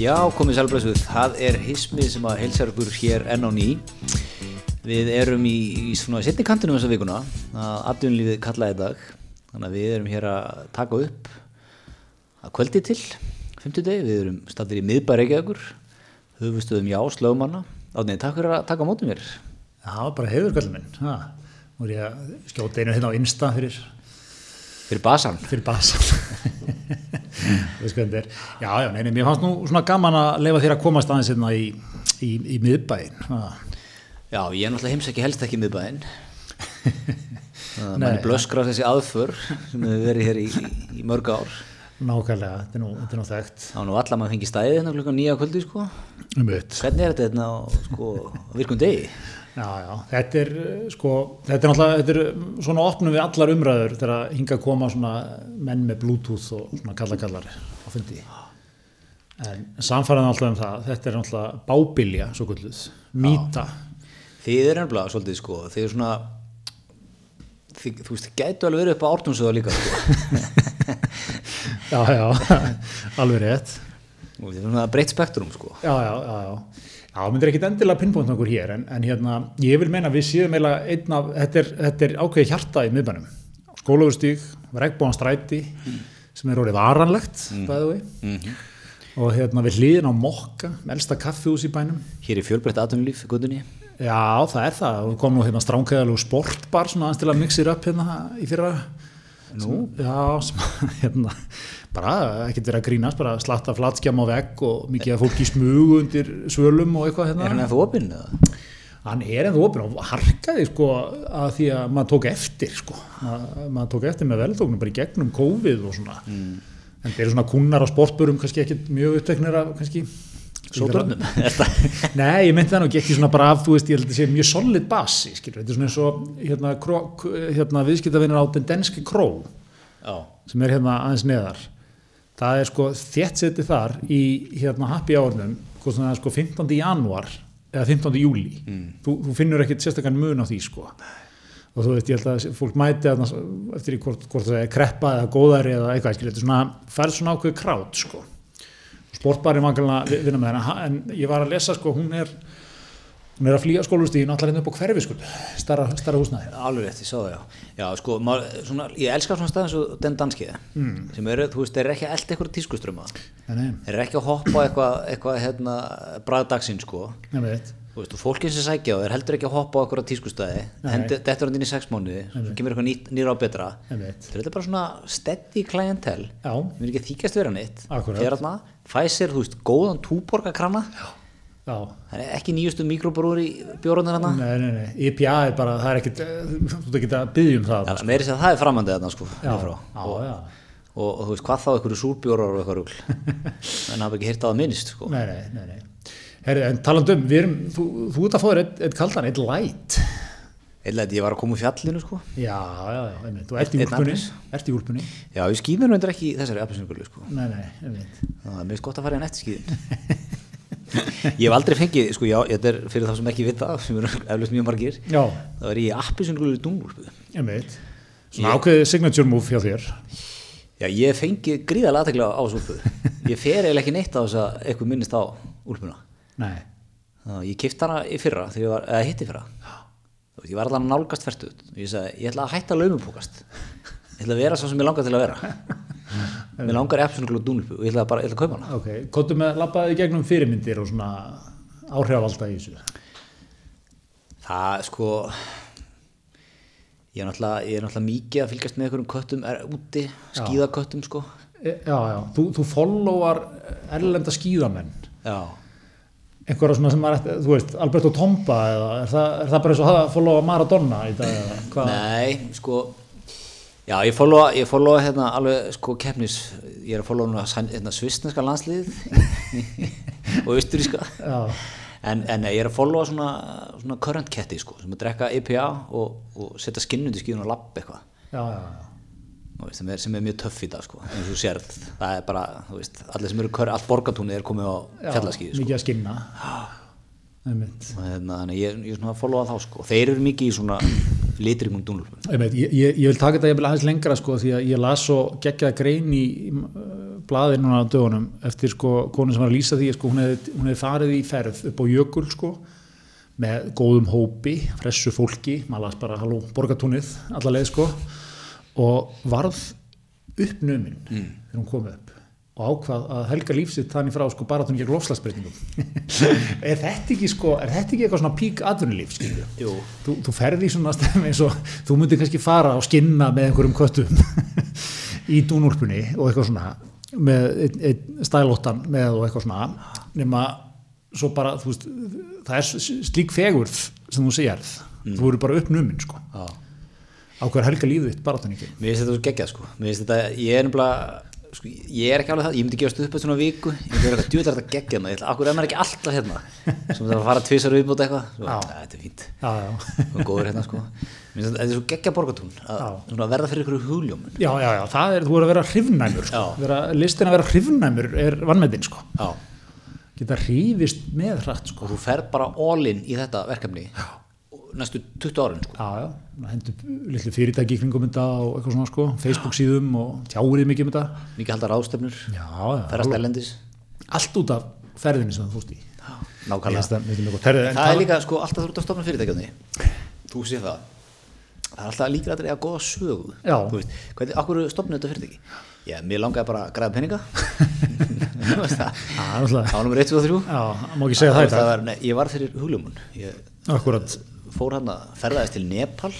Já, komið sælblessuð, það er hismið sem að heilsar okkur hér enn á ný. Við erum í, í svona setni kantinum þessa vikuna, að atvinnlífið kallaði í dag, þannig að við erum hér að taka upp að kvöldi til, 50 degi, við erum stattir í miðbæri ekki okkur, höfustöðum já, slögumanna, átnið, takk fyrir að taka á móti mér. Já, það var bara hefur kallum minn. Ha, nú er ég að skjóta einu hérna á Insta fyrir, Fyrir basan. fyrir basan. Veist hvernig þetta er. Já, já, neini, mér fannst nú svona gaman að leifa þér að komast aðeins hérna í, í, í miðbæin. Ha. Já, ég er náttúrulega heimsæki helst ekki miðbæinn. Það Nei. manni blöskra þessi aðför sem hefur verið hér í, í mörg ár. Nákvæmlega, þetta er nú, þetta er nú þekkt. Það var nú allar maður fengi stæðið hérna klukkan nýja kvöldi, sko. Um öll. Hvernig er þetta hérna á sko, á virkum degi? Já, já, þetta er eh, sko, þetta er náttúrulega, þetta er svona opnum við allar umræður þegar að hinga að koma svona menn með bluetooth og svona kallakallar á fundi. En samfæraðan alltaf um það, þetta er náttúrulega bábilja, svo gulluð, mýta. Þið er ennflað svolítið sko, þið er svona, þið, þú veist, þið gætu alveg verið upp á ártumsöða líka sko. Já, já, alveg rétt. Og þið er svona breytt spektrum sko. Já, já, já, já. Já, myndir ekkit endilega pinnbónt okkur hér, en, en hérna, ég vil meina að við séum eiginlega einn af, þetta er, þetta er ákveði hjarta í miðbænum. Skólaugustík, regnbóðan stræti, sem er orðið varanlegt, bæðu við. Mhm. Og hérna við hlýðin á mokka, melsta kaffihús í bænum. Hér er fjölbreytt atunlíf, guttunni. Já, það er það. Við komum nú hérna stránkæðalegu sportbar, svona aðeins til að mixir upp hérna í fyrra. Nú? Já, sem, hérna, bara ekkert verið að grínast, bara slatta flatskjám á vegg og mikið að fólki smugu undir svölum og eitthvað hérna Er hann eftir opinn eða? hann er ennþá opinn og harkaði sko að því að maður tók eftir sko, Ma, maður tók eftir með veltóknum bara í gegnum COVID og svona en þeir eru svona kunnar á sportbörum kannski ekki mjög uppteknir af kannski Sóturnum? Nei, ég myndi það nú ekki ekki svona bara af, þú veist, ég held að þetta sé mjög solid basi, skilur, þetta er svona eins og hérna, kró, hérna viðskiptavinnir á den denski kró Já. sem er hérna aðeins neðar það er sko þétt seti þar í hérna happy hournum hvort sem það er sko 15. janúar eða 15. júli þú, þú finnur ekkit sérstakann mun á því sko og þú veist ég held að fólk mæti að, eftir í hvort, hvort það er kreppa eða góðari eða eitthvað skilur, þetta er svona, færð svona ákveð krát sko sportbari vangalega vinna með hennar en ég var að lesa sko, hún er hún er að flýja skólustíðin allar hérna upp á hverfi sko, starra, starra húsnaði Alveg rétt, ég sá það já. Já, sko, maður, svona, ég elskar svona staðins og den danskiða, mm. sem eru, þú veist, þeir eru ekki að elda eitthvað tískuströma. en nei, Þeir eru ekki að hoppa á eitthvað, eitthvað, hérna, bragdagsinn sko. nefnir þetta Þú veist, og fólkið sem sækja á er heldur ekki að hoppa á okkur á tískustæði, þetta er hann inn í sex mánuði, svo kemur eitthvað nýtt- nýra á betra. Einmitt. Þetta er þetta bara svona steady clientele, Já. við erum ekki að þykjast vera neitt. Akkúrat. Þegar þarna, Pfizer, þú veist, góðan túborgakrana, já, það er ekki nýjustu mikrobrúri bjórunir hana. Nei, nei, nei, IPA er bara, það er ekkit, eh, þú ert ekki að byggja um það. Það meiri sér að það er framandið þarna, sko, Já, frá. já, já. Og, og þú veist, hvað þá einhverju súrbjórar og eitthvað rúgl. en hafa ekki hýrt á það minnst, sko. Nei, nei, nei, nei. Herri, en talandu um, við erum, þú, þú ert að fá þér eitt, eitt kaldan, eitt light. Eða ég var að koma úr fjallinu, sko. Já, já, já, einmitt, þú ert í Einn úlpunni, appels. ert í úlpunni. Já, ég skýði mér reyndar ekki í þessari apelsinugulu, sko. Nei, nei, einmitt. Það er mjög gott að fara í hann eftir skíðin. ég hef aldrei fengið, sko, já, þetta er fyrir þá sem ekki vita, sem eru eflust mjög margir, Já, þá er ég appisungulur dungúlpu. einmitt. Svona ákveðið signature move hjá þér. Já, ég hef fengið gríðarlega aðtekla á þessu úlpu. Ég fer eiginlega ekki neitt á þess að eitthvað minnist á úlpuna. Nei, Þannig, ég kipti hana í fyrra, þegar ég var, eða hitti fyrra. Þú veist, Ég var allan nálgast færtuð. Ég sagði, ég ætla að hætta að laumupókast. Ég ætla að vera svo sem ég langar til að vera. Mér langar appisungulur dungúlpu og ég ætla bara, ég ætla að kaupa hana. ok, kóttu með að labbaði gegnum fyrirmyndir og svona áhrifalda í þessu. Það sko ég er náttúrulega, ég er náttúrulega mikið að fylgjast með einhverjum köttum er úti, skíðaköttum sko E, já, já, þú, þú followar erlenda skíðamenn. Já, einhverja svona sem maður ætti, þú veist, Alberto Tomba eða er það, er það bara eins og að followa Maradona í dag eða hvað? nei, sko Já, ég fólóa, ég fólóa hérna alveg sko keppnis, ég er að fólóa núna sæn- hérna, svissneska landsliðið og austuríska Já, en, en ég er að fólóa svona, svona current ketti sko, sem að drekka IPA og, og setja skinnundi skíðun og lapp eitthvað já, já, já, Þú veist, sem er, sem er mjög töff í dag sko, eins og þú sérð, það er bara, þú veist, allir sem eru, kör- allt borgatúnið er komið á já, fjallaskíði sko. mikið að skinna, einmitt. Og hérna, þannig að ég, ég svona followa þá sko, þeir eru mikið í svona litringum dúnlum. Einmitt, ég, ég, ég vil taka þetta jafnvel aðeins lengra sko því að ég las svo geggjaða grein í uh, blaðið núna á dögunum eftir sko konu sem var að lýsa því sko, hún, hefði, hún hefði farið í ferð upp á jökul sko með góðum hópi, fressu fólki maður las bara halló borgatúnið alla leið sko og varð uppnumin þegar hún kom upp og ákvað að helga lífsitt þannig frá sko bara þannig gegn lofslagsbreytingum er þetta ekki sko, er þetta ekki eitthvað svona pík atvinnulíf skilju? Jú. Þú, þú ferði í svona stemmi eins og þú myndir kannski fara og skinna með einhverjum köttum í dúnúlpunni og eitthvað svona með einn ein, stælóttan með og eitthvað svona nema svo bara, þú veist, það er s- slík fegurð sem þú sérð þú eru bara uppnumin sko Já. á hver helga lífið þitt bara þannig Mér finnst þetta svo geggjað sko Mér finnst þetta, ég er nefnilega sko, ég er ekki alveg það, ég myndi gefast upp eftir svona viku ég myndi vera eitthvað djúðar þetta geggjað maður, ég ætla, akkur er maður ekki alltaf hérna sem það var að fara tvisar viðbúta eitthvað svo, Já. "Æ, þetta er fínt, já, já. og góður hérna sko Mér finnst þetta, þetta er svo geggjað borgatún að Já. svona að verða fyrir ykkur hugljómun já, já, já, það er, þú er að vera hrifnæmur sko. Já. vera, listin að vera hrifnæmur er vannmetin sko, Já, geta hrifist með hratt sko og þú ferð bara all in í þetta verkefni og næstu 20 árin sko já, já, hendur litlu fyrirtæki í kringum þetta og eitthvað svona sko, Facebook síðum og tjáurið mikið um þetta mikið halda ráðstefnur, já, já, ferðast ellendis allt út af ferðinni sem þú fórst í nákvæmlega Það það er líka sko alltaf þú ert að stofna fyrirtækjarni Þú sé það Það er alltaf líka að reyja góða sögu Já. Þú veist, hvernig, akkur stofnir þetta fyrirtæki? Já, mér langaði bara að græða peninga Þú veist það það er náttúrulega- Ánum reitt og þrjú Já, má ekki segja það í dag. var, nei, Ég var fyrir huglumun Ég Akkurat, fór hann að ferðaðist til Nepal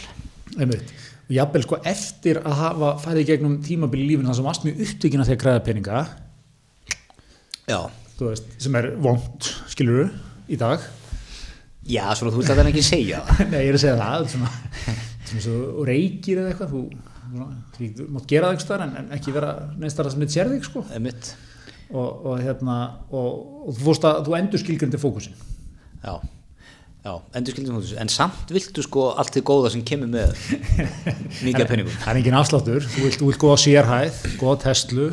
einmitt. Og jafnvel sko eftir að hafa farið í gegnum tímabili lífin það sem varst mjög upptökina þegar græða peninga, Já þú veist, sem er vond, skilur í dag. Já, svona þú veist að það er ekki segja það. Nei, ég er að segja það, þetta er svona, svona svo reykir eða eitthvað, þú, svona, því, þú mátt gera það einhvers staðar en, en ekki vera neins þar sem þið sér þig, sko. Einmitt. Og, og hérna, og, og þú fórst að, þú endur skilgrindi fókusin. Já Já, endur skildum hún þessu, en samt viltu sko allt þið góða sem kemur með mikið af peningum. Það er engin afsláttur, þú vilt, þú vilt góða sérhæð, góða testlu,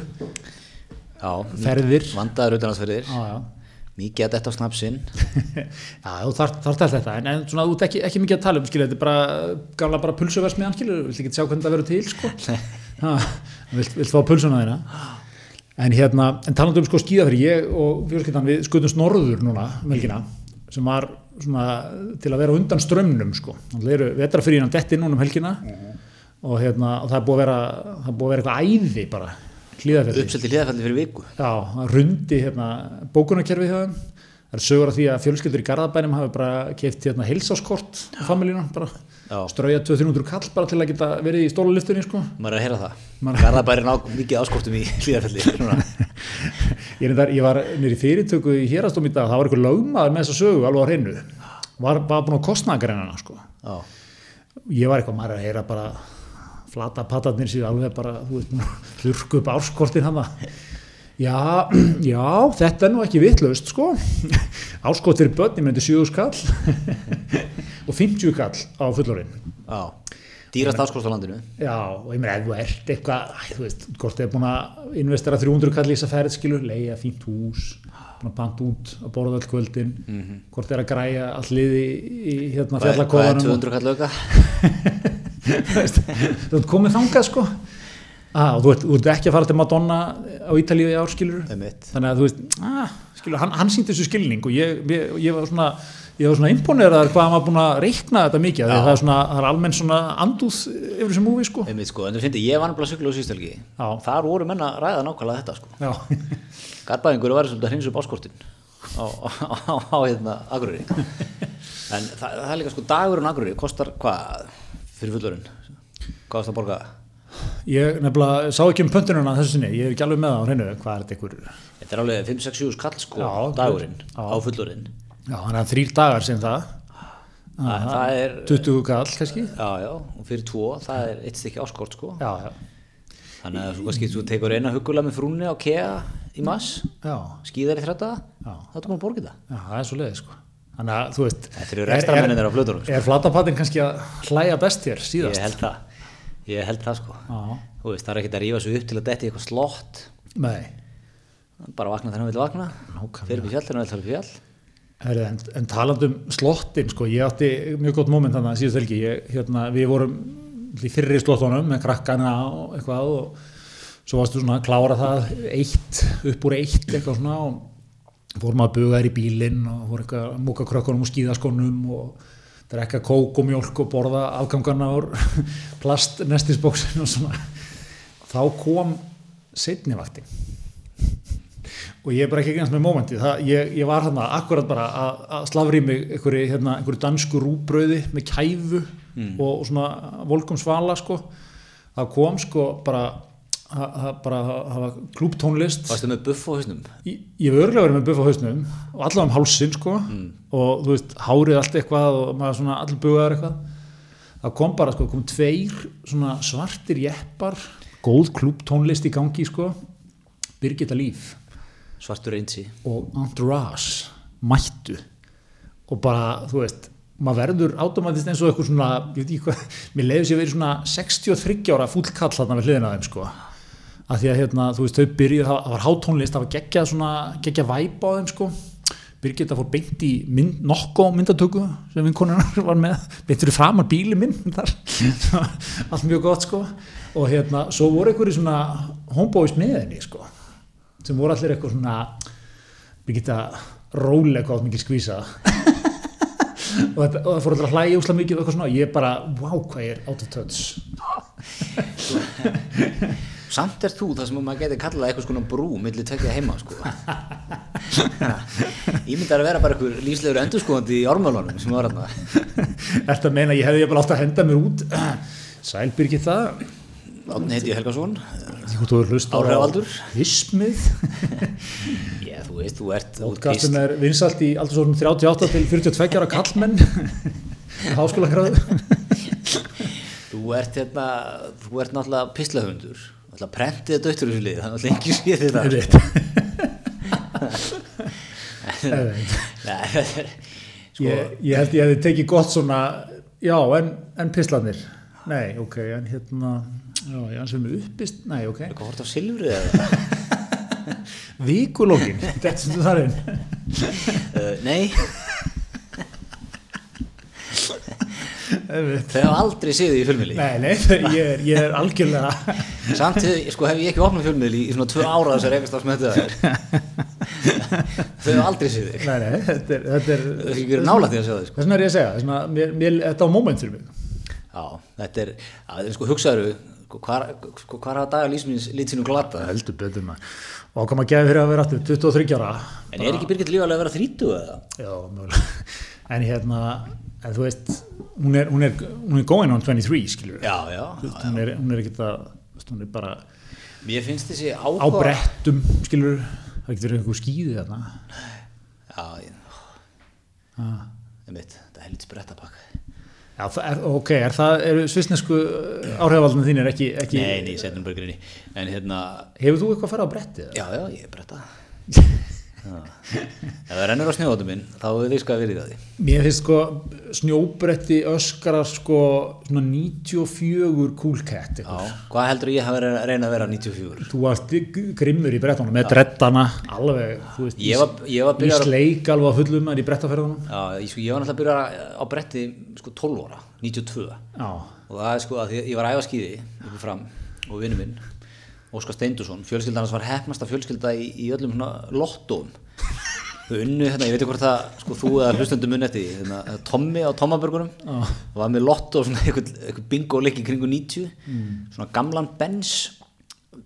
Já, ferðir. vandaður utanhansferðir, Já, já. mikið að þetta á snapsinn, Já, þú þarft þarft allt þetta, en, en svona þú ert ekki, ekki mikið að tala um, skilja, þetta er bara gamla bara pulsuversmiðan, skilja, þú vilt ekki sjá hvernig það verður til, sko. Ha, vilt, vilt fá pulsuna þína. En hérna, en talandi um sko skíðafyrir, ég og fjölskyldan við skutum snorður núna, melgina, sem var svona til að vera á undan strömmnum, sko. Það eru vetrafyririnn að detti núna um helgina og hérna, og það er búið að vera, það er búið að vera eitthvað æði bara, hlýðafyrir. uppselt í hliðafælli fyrir viku Já, það rundi hérna, bókunarkerfið hjá þeim. Það er sögur af því að fjölskyldur í Garðabænum hafi bara keft hérna heilsáskort á familíuna, bara Já. strauja 200-300 kall bara til að geta verið í stólaliftunni, sko. maður er að heyra það Maður- Garðabærin á mikið áskortum í hliðafælli núna. Ég, reyndar, ég var nýri fyrirtöku í hérastum í dag, það var einhver lögmaður með þessa sögu alveg á hreinu. Var bara búin að kostna greinana, sko. Já. Ég var eitthvað maður er að heyra bara flata patatnir sér alveg bara, þú veist, búin að þurrku upp áskortin hann Já, já, þetta er nú ekki vittlaust sko. Áskot fyrir börn, ég myndi 7 skall og 50 skall á fullorinn. Já. dýrast áskort á landinu Já, og ég meina ef þú ert eitthvað, æ, þú veist, hvort þið er búin að investera 300 kall í þess að ferð, skilur, leiða fínt hús, búin að panta út að borða all kvöldin, hvort þið er að græja all liði í hvað er, hérna hvað er fjallakofanum. 200 kall auka Þú veist, þú ert komið þangað sko ah, og þú ert, þú ert ekki að fara til Madonna á Ítalíu í ár skilur Einmitt. þannig að þú veist, ah, skilur, hann, hann síndi þessu skilning og ég, ég, ég var svona ég var svona imponeraður hvað hann var búin að reikna þetta mikið, því að það er svona, það er almenn svona andúð yfir þessu múvi sko Einmitt, sko. en þú finnir, ég var nefnilega syklu á sístelgi Já. þar voru menna að ræða nákvæmlega þetta sko. Já, Garðabæringur var svolítið að hreinsa upp áskortin á, á, á, á hérna agrurri en það, það er líka sko dagurinn agrurri kostar hvað fyrir fullurinn hvað er það að borga ég nefnilega sá ekki um pöntununa að þessu sinni, ég er ekki alveg með það á hreinu hvað er þetta ykkur, þetta er alveg 5-6-7 skall sko Já, dagurinn já. á fullurinn já þannig að þrýr dagar sem það, það, það er 20 kall kannski, Já, já, og fyrir tvo, það er eitt stykki áskort sko. já, já, Þannig að svo kannski þú tekur eina hugulega með frúnni á KEA í mass, já, skýðar í þrætta, Já. þá ertu maður að borga þetta. já það er svo leiði sko, þannig að þú veist Þetta eru rekstramennir á flötunum. Er flatapatinn kannski að hlæja best hér Sko. síðast? Ég held það, ég held það sko. Já. Þú veist, það er ekkert að rífa svo upp til að detti í eitthvað slott, Nei. bara vakna þegar hann vil vakna, Nákvæmlega. fyrir upp í fjall þegar hann vil fara upp í fjall. Herri, en, en talandum slottin, sko, ég átti mjög gott moment þannig að síðast helgi, ég, hérna, við vorum í fyrri slottunum með krakkana og eitthvað og svo varstu svona að klára það eitt, upp úr eitt eitthvað svona og fórum að buga þær í bílinn og fórum eitthvað að múka krökkunum og skíðaskonum og drekka kók og mjólk og borða afgangana úr plastnestisbóksin og svona þá kom setnivakti og ég er bara ekki ekki eins með mómenti ég, ég var hérna akkurat bara að, að slafri mig einhverju, hérna, einhverju dansku rúbröði með kæfu og, og svona volkum svala sko. það kom sko bara, að, að, bara að hafa klúptónlist Varstu með buff á hausnum? Ég ég hef örgulega verið með buff á hausnum og allavega um hálsinn sko og þú veist, hárið allt eitthvað og maður svona allir bugaður eitthvað það kom bara sko, kom tveir svona svartir jeppar góð klúbtónlist í gangi sko Birgitta Líf Svartur reynsi. og Entourage mættu og bara, þú veist, maður verður automatist eins og eitthvað svona, ég veit ekki hvað mér leiður sér verið svona 63 ára fúllkall þarna við hliðina á þeim sko að því að hérna, þú veist, þau byrjuð það það var hátónlist, það var geggjað svona geggjað væp á þeim sko Birgitta fór beint í mynd, nokko myndatöku sem vinkonunar var með beint fyrir framar bíli minn þar allt mjög gott sko og hérna, svo voru einhverju svona homeboys með henni sko sem voru allir eitthvað svona við geta rólega átt mikið skvísa og, þetta, og það fór allir að hlæja úsla mikið og eitthvað svona, ég bara, wow, hvað ég er out of touch Samt er þú það sem maður geti kallað eitthvað skona brú millir tvekja heima sko. Ímyndar að vera bara einhver lífslegur endurskoðandi í ormálunum sem var hérna. Þetta meina, ég hefði ég bara átt að henda mér út Sælbyrgi það Átni heiti ég Helgason. Því hvort þú er hlust Áhrifavaldur. Vismið Já, þú veist, þú ert Útkastum er vinsalt í aldursórum 38 til 42 ára kallmenn Háskóla gráðu Þú ert hérna, þú ert náttúrulega pislahundur. Náttúrulega prentið að dautur þessu lið, þannig að lengi sé þér það. Nei, þetta er, sko, ég, ég held ég hefði tekið gott svona já, en, en pislanir nei, ok, en hérna já, já, en sem uppist, nei, ok Sko, hvað hvort á silfrið eða? vikulógin, þetta sem þú þar inn uh, nei, Einmitt. þau hafa aldrei séð þig í fjölmiðli. nei, nei, ég er, ég er algjörlega Samt hef- sko, hef ég ekki opnað fjölmiðli í svona tvö ára þessar rekast á smöttu það er. Þau hafa aldrei séð þig. nei, nei, þetta er, þetta er Þau hefur ekki verið nálægt því að sjá þig, sko. þess vegna er ég að segja, þess vegna, mér, mér, þetta á moment fyrir mig Já, þetta er, já, þetta er sko hugsaður, sko, hvar, sko, hvar hafa dagar lífsminns litsinu glata? heldur betur maður og ákvæm að gefa fyrir að vera aftur 23 ára En er ekki Birgit lífalega að vera 30 eða? já, mögulega en hérna, en þú veist hún er, hún er, hún er going on 23, skilur Já, já. Þú veist, hún er, hún er ekkert að þú veist, hún er bara á Mér finnst þessi áhuga. brettum skilur, það getur verið einhver skýði þarna Já, ég, Ah. einmitt, þetta er helvits brettapakka. Já, það er, ok, er það, eru svisnesku áhrifaldin þínir ekki, ekki Nei, nei, setnum bara grinni. En hérna, hefur þú eitthvað að fara á brettið? já, já, ég er bretta. Já. Ef það rennur á snjóðatum minn, þá hefur þið sko að vilja því. Mér finnst sko snjóbretti öskarar sko svona 94 cool Já, cat eitthvað. hvað heldur ég hafa verið að reyna að vera 94? Þú varst grimmur í brettunum með drettana alveg, þú veist, Ég var, ég var í byrjar að... sleik alveg að fullum en í brettaferðunum Já, ég, sko, ég var náttúrulega byrjar á bretti sko 12 ára, 92. Já, Og það er sko að ég, ég var að æfa skýði ykkur fram og vinnu minn, Óskar Steindursson, fjölskyldan hans var hefnasta fjölskylda í, í öllum svona lottóum. Þau unnu, hérna, ég veit ekki hvort það, sko þú eða hlustundum unni eftir, því, hérna, eh, Tommi á Tommaburgunum, það var með lottó, svona einhvern einhver bingo leik í kringu 90, svona gamlan Benz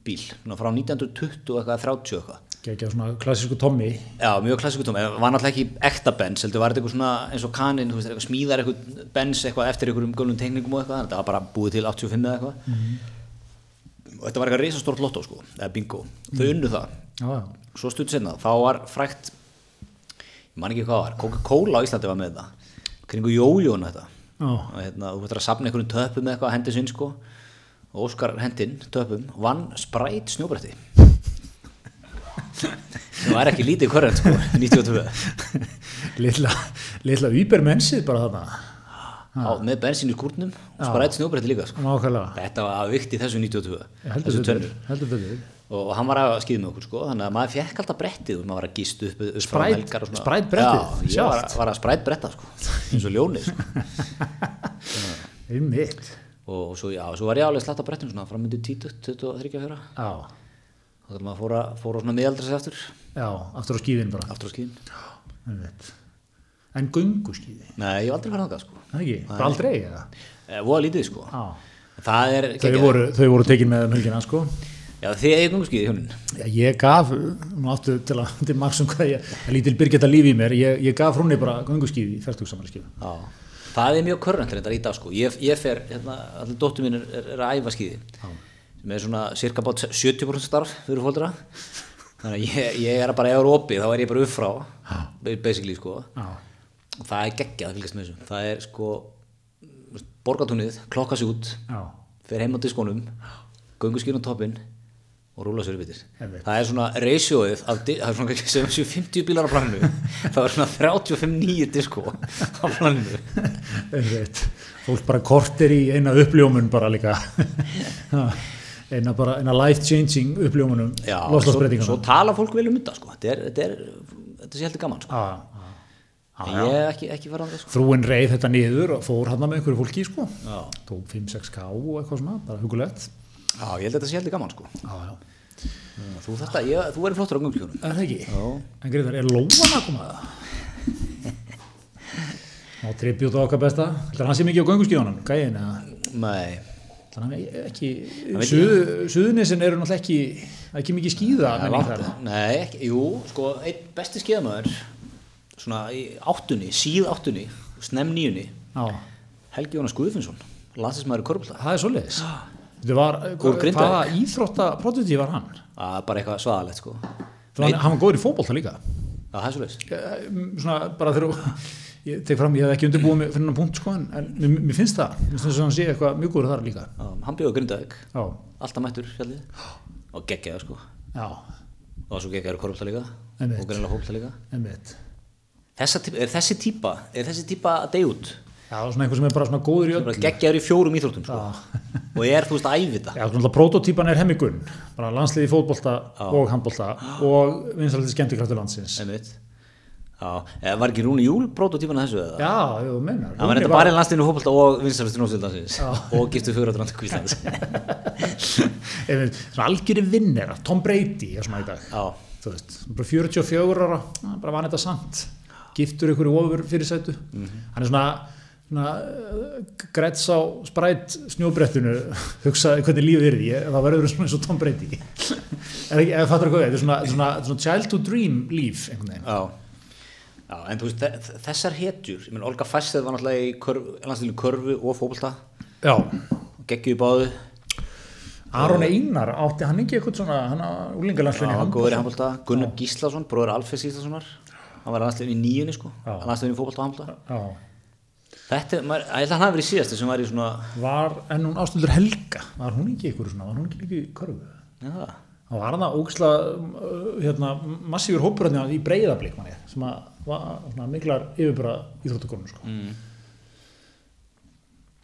bíl, svona frá 1920 eitthvað, 30 eitthvað. gekkja svona klassísku Tommy Já, mjög klassikutum, en var náttúrulega ekki ekta bens, heldur, var þetta eitthvað svona eins og kaninn, þú veist, eitthvað smíðar eitthvað bens eitthvað eftir einhverjum gölnum teikningum og eitthvað, þetta var bara búið til 85 eða eitthvað. Og þetta var eitthvað reisastort lottó, sko, eða bingo, þau unnu það. Já, já, Svo stutt senna, þá var frækt, ég man ekki hvað það var, Coca-Cola á Íslandi var með það, kringu jójón þetta. já Og hérna, þú veist að safna einhverjum töpum eða eitthvað, hendi sinn, sko, og Óskar hendinn, töpum, vann spræt snjóbretti. Það var ekki lítið korrent sko, 92 litla, litla übermensið bara þarna á, með bensin í skúrnum og sprætt snjóbretti líka sko. nákvæmlega þetta var vikt í þessu 92 heldur þessu betur, tönnu heldur betur og, og hann var að skýða með okkur sko, þannig að maður fekk alltaf brettið og maður var að gíst upp, upp frá Sprætt- helgar og svona. sprætt brettið, já, ég var, var að sprætt bretta sko, eins og ljónið sko. einmitt og svo, já, svo var ég alveg slatt á brettinu svona framöndu 20, 23 að fyrra já, þá þurfum að fóra, fóra svona miðaldra sér aftur já, aftur á skíðin bara aftur á skíðin Einmitt. en göngu skíði nei, ég hef aldrei farið þangað sko það ekki, bara aldrei eða? e, voða lítið sko Já. það er þau voru, þau voru tekin með um helgina sko já, þið eigum gunguskíði hjónin Já, ég gaf, nú aftur til að til margsum hvað ég, að lítil Birgitta lífi í mér ég, ég gaf hrúnni bara gönguskíði í fertugsamalskíðu já. það er mjög körnent þetta í dag sko ég, ég fer, hérna, allir dóttur mín er, er, er að æfa skíði sem er svona cirka bát 70% starf fyrir fólkdra þannig að ég, ég er bara ef ég er opið þá er ég bara upp frá basically sko Já, og það er geggjað að fylgjast með þessu það er sko borgatúnið, klokka sig út já, fer heim á diskonum, göngu skýrn á toppinn og rúla sér bitir Einmitt. það er svona ratioið af, di- það er svona kannski 750 bílar á planinu það er svona 35 nýju disko á planinu einmitt fólk bara kortir í eina uppljómun bara líka Já, eina bara, eina life changing uppljómunum Já, svo, svo loslasbreytingunum tala fólk vel um þetta sko. þetta er, þetta er, þetta er heldur gaman sko. svo... en ég hef ekki, ekki farað sko. frúin reið þetta niður og fór hann með einhverju fólki sko Já. tók 5-6k og eitthvað svona, bara hugulegt já, ég held að þetta sé heldur gaman sko. Já, já, þú, þetta, ég, þú verður flottur á göngljónum er það ekki? já En Greitar, er lóan að koma það? Ná tribut á okkar besta Ætlar hann sé mikið á gönguskíðunum, gæin eða Nei, Ætlar hann ekki veit ég. Suðu- Suðurnesin eru náttúrulega ekki ekki mikið skíða Það er menning langt- þar Nei, ekki, jú, sko, einn besti skeiðamöður svona í áttunni, síð áttunni snem nýjunni, Já, Helgi Jónas Guðfinnsson landslæsmaður í körpulta, það er svoleiðis Þetta var, Úr Grindavík. hvaða íþrótta prototí var hann? það er bara eitthvað svaðalegt sko, Það var, hann var góður í fótbolta líka Já, það er svo leys Eh, m, Svona bara þegar ég tek fram, ég hef ekki undirbúið mig fyrir hann punkt sko en, en mér, mér finnst það, mér finnst þess að hann sé eitthvað mjög góður þar líka Hann bjóði Grindavík, Já, alltaf mættur fjallið Ah. og geggjaði sko, já, og svo geggjaði í körpulta líka Einmitt. og greinlega hópulta líka emmitt Þessa, típ- er þessi típa, er þessi típa að deyja út? Já, svona einhver sem er bara svona góður í öllu. Geggjaður í fjórum íþróttum sko. Já, og er þú veist að æfi þetta Ah. já svona prototýpan er hemmigun, bara landsliði í fótbolta og handbolta og vinsaldi skemmtikraftur landsins. Einmitt. Já, eða var ekki Rúni Júl prototípan að þessu eða? Já, jú, meinar. Það var Rúni þetta bara í landslinu hópulta og vinstaristu nósildansins Já. og giftu fjóraðröndu kvíslands. einmitt, svona algjöri vinnera, Tom Brady er svona í dag. Já, Þú veist, bara 44 ára, ah, bara var þetta samt. Giftur ykkur í ofur fyrirsætu. Hann er svona, svona eh, græts á sprætt snjóbrettinu, hugsaði hvernig lífið er því, það verður svona eins og Tom Brady. er ekki, ef fattur hvað við, þetta er svona, þetta er svona, þetta er svona child to dream líf einhvern veginn. já. Já, en þú veist, þe- þessar hetjur, ég menn Olga Fæssið var náttúrulega í körf, landslinu körfu og fókbalta, Já, geggjuði báðu, Aron Einar, átti hann ekki eitthvað svona hann á úlingalandslinni hann var góður í handbalta, Gunnar Gíslason, bróður Alfes Gíslasonar, hann var í landslinu í nýjunni sko, Já. landslinu í fókbalta og handbalta. Já, Þetta, er- maður, ég ætla að hann hafi verið síðasti sem var í svona, var, en hún ástöldur Helga var hún ekki eitthvað svona, var hún ekki líka í körfu já, það. þá var hann að ógisla hérna, massífur hópur hérna í breyðablík manni, sem að var svona miklar yfirbara íþróttakonum sko. mm.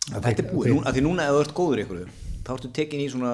Þetta er búið, nú, að því núna ef þú ert góður í einhverju, þá ertu tekin í svona,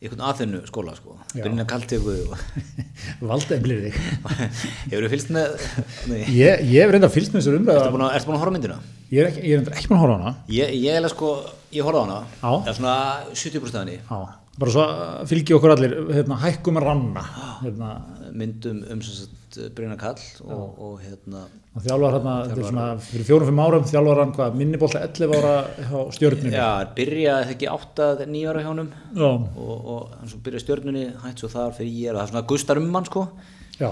einhvern aðfinnu skóla sko, Já. byrjina kalteguðu og Mm. Valda en blíðið Hefur þú fylgst með Nei, Ég, ég hef reynda fylgst með þessar ertu umræða búin, að, ertu búin að horfa á myndina? ég er, ekki, ég er reyndar ekki búin að horfa á hana Ég, ég er sko, ég horfa á hana Já. Eða svona 70% af henni Já, bara svo að fylgi okkur allir hérna, hækkum að ranna hérna, Myndum um sem sagt Brynna Kall og, og hérna Og Þjálfar hérna, þetta er svona fyrir fjórum, fimm árum, þjálfar hann hvað, minnibólta 11 ára hjá stjörnunni. Já, er byrjaði þetta ekki 8 eða 9 ára hjá honum Já. og, og hann svo byrjaði í stjörnunni hætt svo þar fyrir ég er og það er svona gustar um hann sko Já.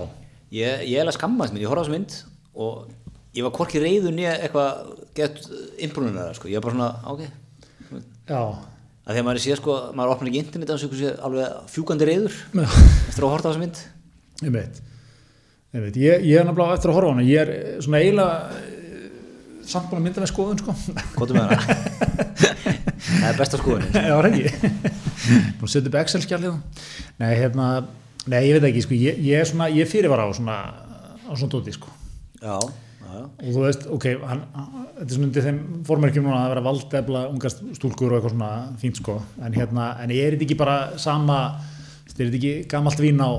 Ég, ég er að skamma þessi mynd, ég horfa á þessi mynd og ég var hvorki reyður nýja eitthvað gett innbrunnar sko, ég var bara svona, ok Já. að þegar maður sé sko, maður opnar ekki internet þannig að sé alveg fjúkandi reyður Já. eftir að horta á þessa mynd Ég veit. Ég veit, ég, ég er náttúrulega eftir að horfa á hana, ég er eh, svona eiginlega eh, samt búin að mynda með skoðun, sko. Kvotum með hana Það er besta skoðunin Já, var ekki. Búin að setja upp Excel-skjalið. Nei, hérna, nei, ég veit ekki, sko, ég, ég er svona, ég fyrirvara á svona, á svona dóti, sko. Já, já, já og þú veist, ok, hann, hann- þetta er svona undir þeim formerkjum núna að vera valdefla unga stúlkur og eitthvað svona fínt sko en hérna, en er þetta ekki bara sama þetta er þetta ekki gamalt vín á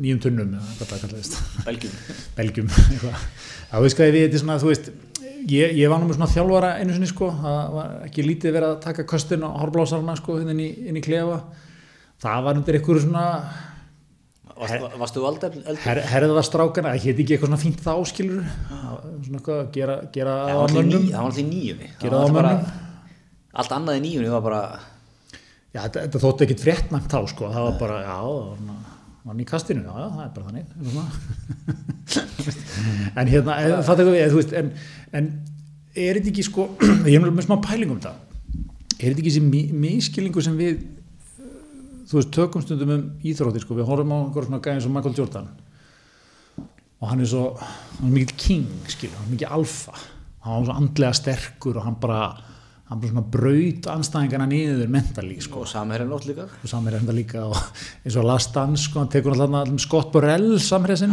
nýjum tunnum, eða hvað það kallaðist Belgjum Belgjum, eitthvað þá veist hvað ég við, þetta er svona, þú veist ég, ég var nú með svona þjálfara einu sinni sko, það var ekki lítið verið að taka köstin og horflásarna sko hérna inn í, inn í klefa það var undir einhverju svona Varst, varstu aldrei eldur? her, herðastrákana, það héti ekki eitthvað svona fínt þá skilur svona eitthvað að gera, gera Það var að alltaf í mönnum níu- það var alltaf í nýjunni Gera það á mönnum. Allt annað í nýjunni var bara Já, þetta, þetta þótti ekkit fréttnæmt þá sko, það var bara, já, það var svona mann í kastinu, já, já, það er bara þannig eitthvað svona. en hérna, en, það tekur við, þú veist en, en er þetta ekki sko ég er með smá pæling um það er þetta ekki þessi miskilingu sem við eh, þú veist, tökum stundum um íþrótti sko, við horfum á einhver svona gæðin sem Michael Jordan og hann er svo hann er mikill king, skilur, hann er mikill alfa hann var svo andlega sterkur og hann bara hann bara svona braut anstæðingana niður mentalík sko og samherjan ótt líka og samir enda líka og eins og Last Dance sko, hann tekur alltaf allan Scott Borrell samherja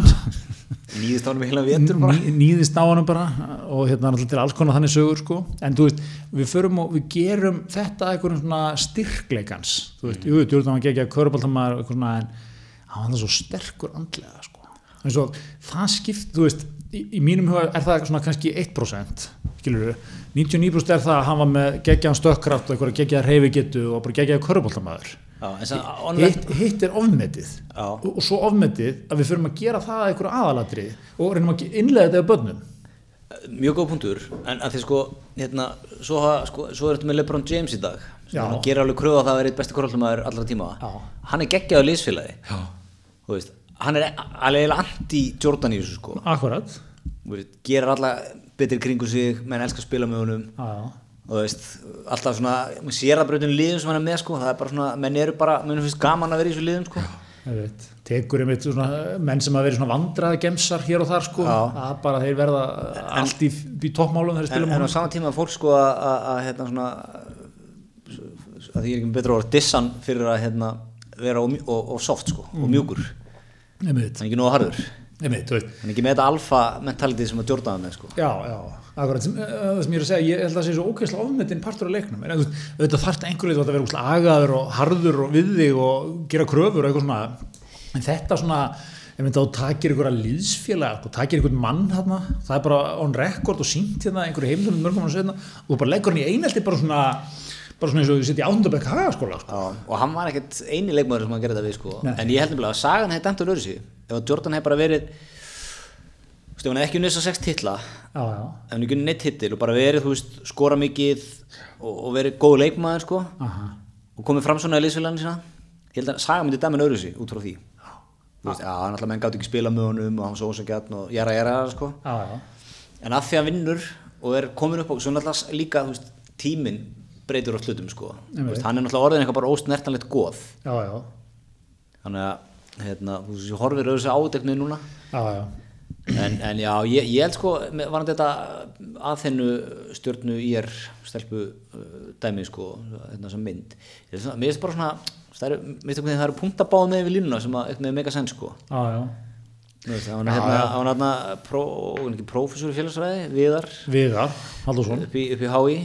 nýðist ánum í heila sinn vetur bara Ný- nýðist á hann bara og hérna alltaf til alls konar þannig sögur sko en þú veist, við förum og við gerum þetta einhverjum svona styrkleikans þú veist, jú, djúrðan var geggjað körbáltamar og eitthvað svona, en hann var það svo sterkur andlega sko, eins og það skipt, þú veist, í, í mínum huga er það svona kannski 1% skilur 99% er það að hann var með geggjaðan stökkraft og einhverja geggjaðar reyfigetu og bara geggjaðar körbáltamæður Já, en sem onlegt hitt, hitt er ofmetið Já. og, og svo ofmetið að við förum að gera það að einhverju aðalatri og reynum að ge- innlega þetta af börnum eh, mjög góð punktur en að því sko hérna svo, hafa- sko, svo er þetta með Lebron James í dag sem Já. hann gerir alveg kröðu að það verið besti korallumæður allra tíma Já. hann er geggjaður liðsfélagi þú veist hann er e- alveg anti-Jordan í þessu sko akkurat Þú veist, gerir alla betri kringu sig menn elskar að spila með honum og þú veist, alltaf svona maður sér að breytum liðum sem hann er með sko það er bara svona, menn eru bara, menn finnst gaman að vera í þessu liðum sko tekur einmitt svona menn sem að vera svona vandraða gemsar hér og þar sko, Já. að bara þeir verða allt í, í toppmálum þegar þeir en, en spila á málum sama tíma að fólk sko að- að að, hérna svona að því ég er ekki með betra orð dissan fyrir að hérna vera og, mjú- og, og soft sko og mjúkur, hann einmitt, er ekki nóg harður einmitt, þú veit hann er ekki með þetta alfa mentalitið sem að Jordan er með sko Já, já, akkurat sem, eh, það sem ég er að segja, ég held að það sé svo ókvæmstlega ofmyndin partur af leiknum, en þú veist, auðvitað þarf einhver leit að vera úrslega agaður og harður og við þig og gera kröfur og eitthvað svona, en þetta svona, ef mynda þú takir einhverja liðsfélag, sko, takir einhvern mann þarna, það er bara on record og sínt hérna einhverju heimilum mörgum mann sveitna og þú bara leggur hann í einelti bara svona, bara svona eins og þú setja í áttundabekk hagaskóla, sko. Já, og hann var ekkert eini leikmaður sem að gera þetta við sko Nei. en ég held nefnilega að sagan hefði dæmt að lögur sig ef að Jordan hefði bara verið þú veist, ef hann hefði ekki unnið þess sex titla Já, já, ef hann ekki unnið neitt titil og bara verið, þú veist, skora mikið og, og verið góð leikmaður sko aha, og komið fram svona í liðsfélaginu sína ég held að saga myndi dæmin öðru sig út frá því þú veist, já, hann alltaf menn gátt ekki spila með honum og hann var svo ósakjarn og jara jara sko. já, já, en að því að hann vinnur og er komin upp á svo náttúrulega líka þú veist, tíminn breytur á hlutum sko. Þú veist, hann er náttúrulega orðin eitthvað bara ósnertanlegt goð já, já, þannig að hérna, þú veist, ég horfir öðru sig ádegnuð núna já, já, en, en já, ég, ég held sko með- varandi þetta að þennu stjórnu í er stelpu uh, dæmi sko, þetta sem mynd Ég er svona- mér finnst bara svona það eru, mér finnst einhvern veginn það eru punktabáð með við línuna sem að eitthvað með mega sens sko já, já, Þú veist, það var hérna, það var hérna pró, ekki prófessor í félagsræði, Viðar Viðar, Halldórsson, upp í, upp í HÍ,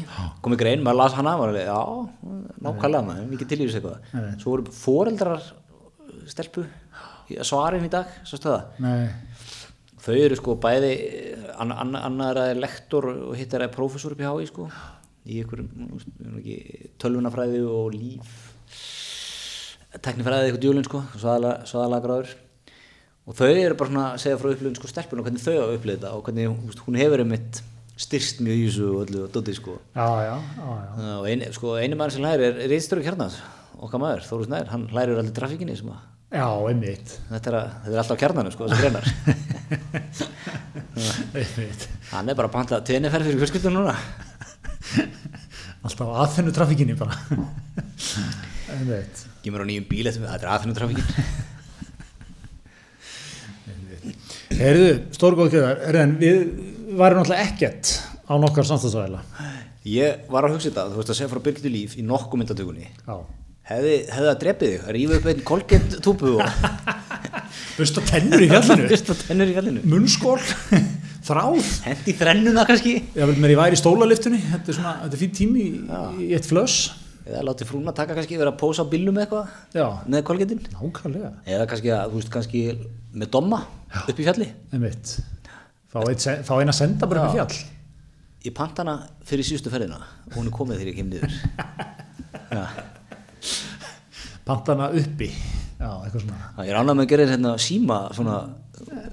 komið grein, maður las hana maður alveg, já, nákvæmlega maður mikið til í þessu eitthvað, svo voru foreldrar uh, stelpu í- að svara henni í dag, svo stöða nei, þau eru sko bæði anna, anna, annar er lektor og hitt er að prófessor upp í HÍ sko í ykkur tölvunafræði og líf teknifræði eitthvað djúlinn sko svaðalega gráður og þau eru bara svona að segja frá upplifun sko stelpun og hvernig þau hafa upplifið þetta og hvernig þú veist, hún hefur einmitt styrst mjög í þessu og öllu og dotið sko já, já, já, já. Uh, og eini, sko, eini maður sem lærir er reyðstöru kjarnas okkar maður, Þórus Nær, hann lærir allir trafíkinni sem að Já, einmitt. þetta er, að, þetta er alltaf kjarnanum sko, þessi greinar einmitt. hann er bara að panta tveiniferð fyrir fjölskyldun núna Alltaf að þennu trafíkinni bara. einmitt. gemur á nýjum bíl, þetta þetta er aðfinnum trafíkin Herðu, stórgóð kjöðar, herðan, við varum náttúrulega ekkert á nokkar samstagsvæðila. ég var að hugsa þetta, þú veist að segja frá Birgitur Líf í nokkuð myndatökunni Já. hefði, hefði það drepið þig, rífið upp einn kolgett túpu og Busta tennur í fjallinu. fyrst og tennur í fjallinu Munnskól. Þráð. hendi þrennuna kannski Ég vil mér í væri stólaliftunni. Þetta er svona, þetta er fín tími í, í eitt flöss. eða látið frúna taka kannski vera að pósa á bílnum með eitthvað Já. með kolgettin Nákvæmlega. eða kannski, að, þú veist, kannski með domma upp í fjalli Einmitt. Fá, eitt, se- fá eina senda bara upp í fjall. ég panta hana fyrir síðustu ferðina og hún er komið þegar ég kem niður ja, pantana uppi já, eitthvað svona það er ánægð með að gera þess hérna síma svona,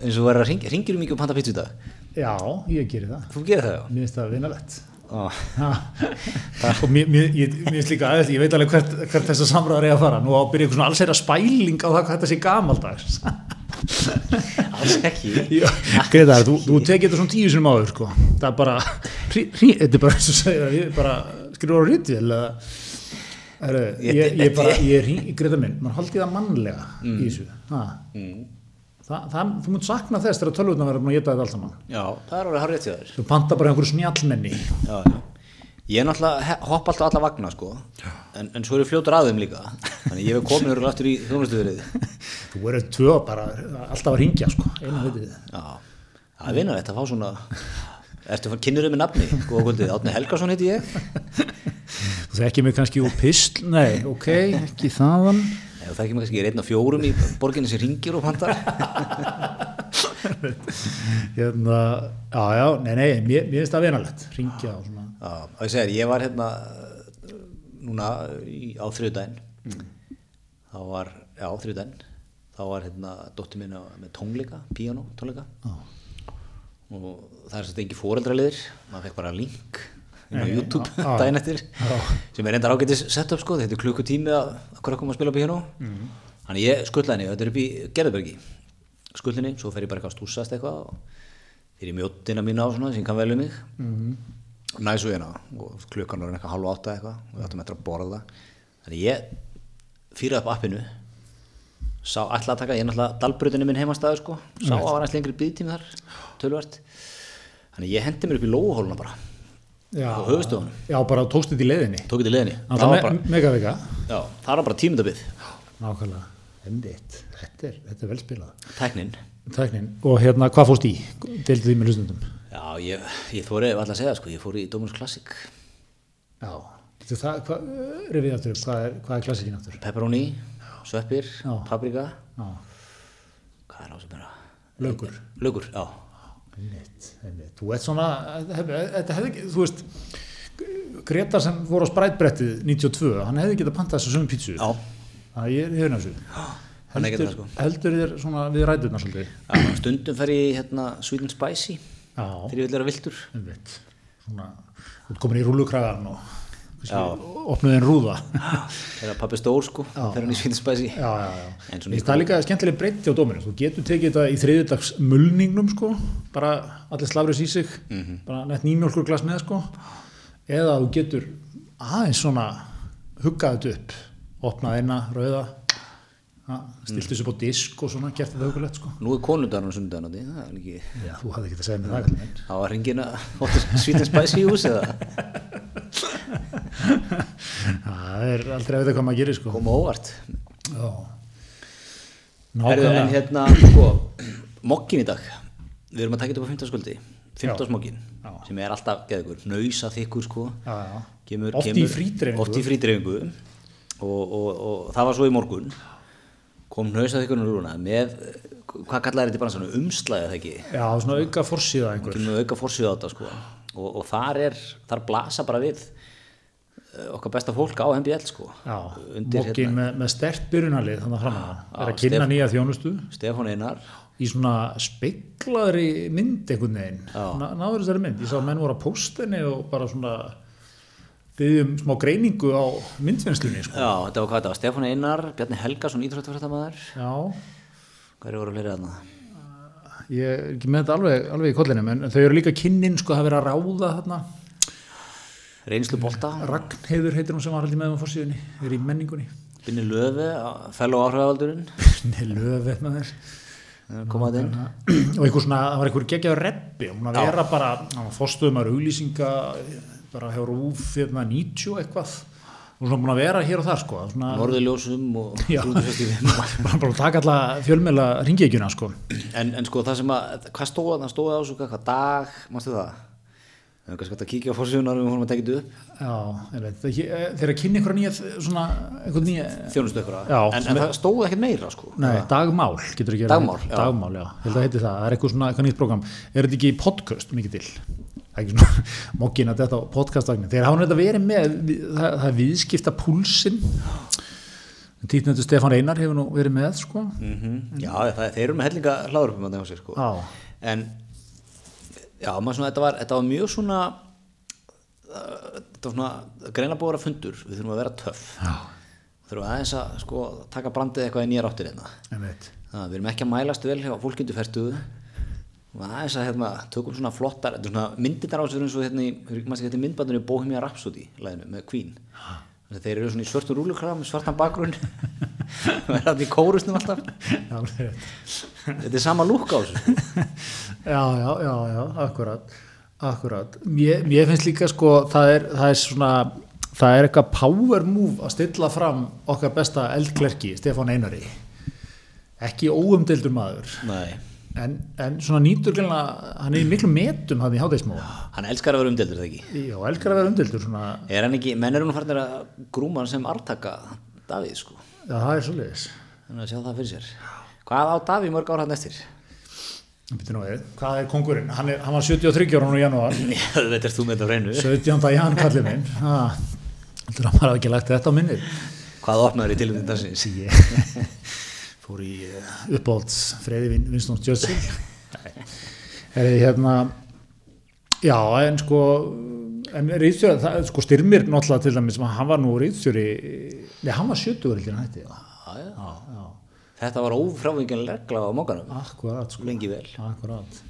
eins og vera hring, ringir um mikið og panta pizza í dag já, ég gerir það þú gerir það já mér finnst það vinalegt Ó, Ha. og sko, mér, mér, ég, mér finnst líka aðeins ég veit alveg hvert, hvert þessa samræðar er að fara nú á að byrja einhver svona allsherra spæling á það hvað þetta sé gamaldags alls ekki Gretar, þú, þú tekið þetta svona tíu sinum áður sko. það er bara hrí, hrí, þetta er bara eins og segir að ég bara skrifur á rítið ég, ég, ég bara, ég hring, Gretar minn mann haldi það mannlega í þessu ha. Þa, það, þú munt sakna þess þegar tölvutna verður búin að geta þetta allt saman já, það er alveg harrið til þér þú panta bara einhverju snjallmenni já, já. ég er náttúrulega he- hoppa alltaf alla vagna sko en, en svo er ég fljótur aðeim líka þannig ég hef komin örgulega aftur í þjónustuverið þú eru tvö bara alltaf að ringja sko, eina vitið já, það er vinnar þetta að fá svona ertu kynnurum með nafni, góða kvöldið Átni Helgason heiti ég Þú þekkir mig kannski úr pistl, nei, ok, ekki þaðan. Ef það ekki með kannski, ég er einn af fjórum í borginni sem ringir og pantar Hérna, já, já, nei, nei, mér, mér finnst það venalegt, ringja og svona. Já, og ég segir, ég var hérna núna í, á þriðdæn þá var, já, þriðdæn þá var hérna dóttir minna með tónleika, píano tónleika Já. og það er svolítið ekki fóreldraliðir maður fekk bara link inn á Nei, YouTube já, já. daginn eftir Já. sem er enda ágætis setup sko, þetta er klukkutími að að krökkum að spila píano Mhm. þannig ég skulla henni, þetta er upp í Gerðbergi skulla henni, svo fer ég bara eitthvað að stúsast eitthvað og þegar ég mjóttina mína á svona sem kann vel um mig Mhm. næs og hérna og klukkan var eitthvað halv átta eitthvað og við áttum eftir að borða þannig ég fýraði upp appinu sá alltaf að taka, ég er náttúrulega dalbrutinu minn heimastæður sko, sá að var aðeins lengri byggtími þar, tölvært þannig ég hendi mér upp í lóuhóluna bara Já, Á höfuðstöðunum. Já, bara tókst þetta í leiðinni. tók ég til leðinni, Það það var var bara Mega vika. já, það var bara tímyndabið, Nákvæmlega. Endið, þetta er, þetta er velspilað. tæknin Tæknin, og hérna, hvað fórst í? Deildu því með hlustundum? já, ég, ég þóri alltaf að segja sko, ég fór í Dóminus Classic Já. Þú, það, hvað, rifið aftur upp, hvað er, hvað er klassikin aftur? pepperoni, sveppir, Já. paprika Já, hvað er á sem er að lögur. lögur, já, Einmitt, einmitt. Þú ert svona, hef, þetta hefði ekki, þú veist, Greta sem voru á sprætbrettið 92, hann hefði getað pantað þessu sömu pítsu. já, Það er hefðin af þessu. hann hefði getað Heldur, það, sko. heldur þér svona við ræturnar svolítið. já stundum fer ég í, hérna, sweet and spicy Já, þegar ég vil vera viltur einmitt. Svona, þú ert komin í rúlukragan og Já. kannski opnuð en rúða. þegar pappi er stór sko, þegar hann í sweet and spicy Já, já, já. En svona Mér finnst Það er líka skemmtileg breytti á dóminu. Þú getur tekið þetta í þriðjudags mulningnum, sko, bara allir slafrið í sig, Mhm. bara nett nýmjólkur glas með, sko. Eða þú getur aðeins svona huggað þetta upp, opnað eina, rauða, ja, Mm. stilt þessu upp á disk og svona, gert þetta hugulegt, sko. Nú er konundarinn og sundarinn það er ekki, Já, þú hafði ekki að segja mér það, kallinn. það var hringin að svítin spæsi í hús eða Það er aldrei að vita hvað maður gerir sko. koma óvart. Já. Herðu, Nákvæmlega. en hérna, sko, mokkin í dag, við erum að taka þetta upp á 15. skuldi, 15. mokkin, Já. sem er alltaf, geðugur, nausa þykkur, sko, Já, já. kemur, Oft í kemur, frídreifingu. Oft í frítreifingu og, og, og það var svo í morgun, kom nausa þykkur núna með, hvað kallar þetta bara svona umslæðið það ekki? Já, svona auka forsíða einhver. kemur auka fórsvið á þetta sko og, og þar er, þar blasa bara við eh, okkar besta fólk á MBL sko Já, undir hérna- mokkin með, með stert byrjunalið þannig að framann. Já, Er að kynna Stefán. nýja þjónustu Stefán Einar í svona speiklaðri mynd einhvern veginn. Já. Ná, náður þessari mynd. Ég sá að menn voru að posta henni og bara svona byggðum smá greiningu á myndvinnslunni sko. Já, þetta var hvað þetta var, Stefán Einar, Bjarni Helgason íþróttafrættamæður, Já, hverju voru fleiri aðna? ég er ekki með þetta alveg, alveg í kollinum en þau eru líka kynnin sko að vera að ráða þarna Reynslu Bolta, Ragnheiður heitir hún sem var haldið með um fórsíðunni, er í menningunni. Binni Löfi, fellow áhrifavaldurinn, Nei, löfið með þér. komaði inn Og einhver svona, það var einhver geggjaður reppi, hún að vera bara, hann var fórstöðumar auglýsinga, bara hjá rúf, hérna 90 og eitthvað. Hún er svona búin að vera hér og þar, sko. Svona, Norðurljósum og Já. Rúðurfestífum. bara búin að taka alla fjölmjöla ringekjuna, sko. En, en sko það sem að, hvað stóða það, stóða ás og hvað dag, mástu það? Það er kannski hægt að kíkja á fórsviðunar um hún að tekja þetta upp. Já, ég veit, það- ég- þeir eru að kynna einhverja nýja, svona, einhverja nýja, þjónustu ykkur að Já. en, en það stóð ekkert meira sko nei, dagmál, getur ekki verið- Dagmál, já. Dagmál, já, ég held að heiti það, það er eitthvað svona, eitthvað nýtt program. Er þetta ekki í podcast mikið til? Það það er ekki svona mokkin að þetta á podcastagnin þegar hann þetta verið með það, það er viðskipta púlsin títnöndu Stefán Einar hefur nú verið með sko Mhm. Já, það, þeir eru með hellinga hláður upp um þetta hjá sér sko. Já. En, já, maður svona, þetta var, þetta var mjög svona, uh, þetta var svona greina búið að vera fundur, við þurfum að vera töff. Já, Þurfum aðeins að, sko, taka brandið eitthvað í nýjar áttir hérna. einmitt Það, við erum ekki að mælast vel hjá fólkindufertuðu. Og aðeins að, hérna, tökum svona flottar, þetta er svona myndirnar á sér eins og hérna, í- ég maður ekki hérna myndbandinu í Bohemia Rhapsody, læginu, með Queen. Þannig að Þeir eru svona í svörtum rúlukram, svartan bakgrunn, verða þarna í kórusnum alltaf. Já, alveg rétt. Þetta er sama lúk á þessu. sko. já, já, já, já, akkurat akkurat, mér, mér finnst líka sko, það er, það er svona það er eitthvað power move að stilla fram okkar besta eldklerki Stefán Einari ekki óumdeildur maður Nei. en, en svona nýtur gælna, hann er í miklu metum hann í hátægismó Hann elskar að vera umdeldur, það ekki? já, elskar að vera umdeildur svona, Er hann ekki, menn eru nú farnir að grúma hann sem artaka Davíð, sko. já, það er svoleiðis Þannig að sjá það fyrir sér. Hvað á Davíð mörg ára hann eftir? Bíddu nú við, hvað er kongurinn, hann, er, hann var 73 ára núna í janúar Þetta er þú með þetta á reynu. 17. jan kallið minn ah, heldur að maður hafi ekki lagt þetta á minnið Hvað opnaður í tilvæmdum dansins? ég fór í eh, uppáhalds Freyði Vin- Winston Churchill er þið hérna já en sko en rýðstjóri, það, sko styrmir náttúrulega til dæmis, hann var nú rýðstjóri nei hann var 70 ári til hann hætti Já, já. Þetta var ófrávíkjan regla á mókanum. akkurat sko, Lengi vel. akkurat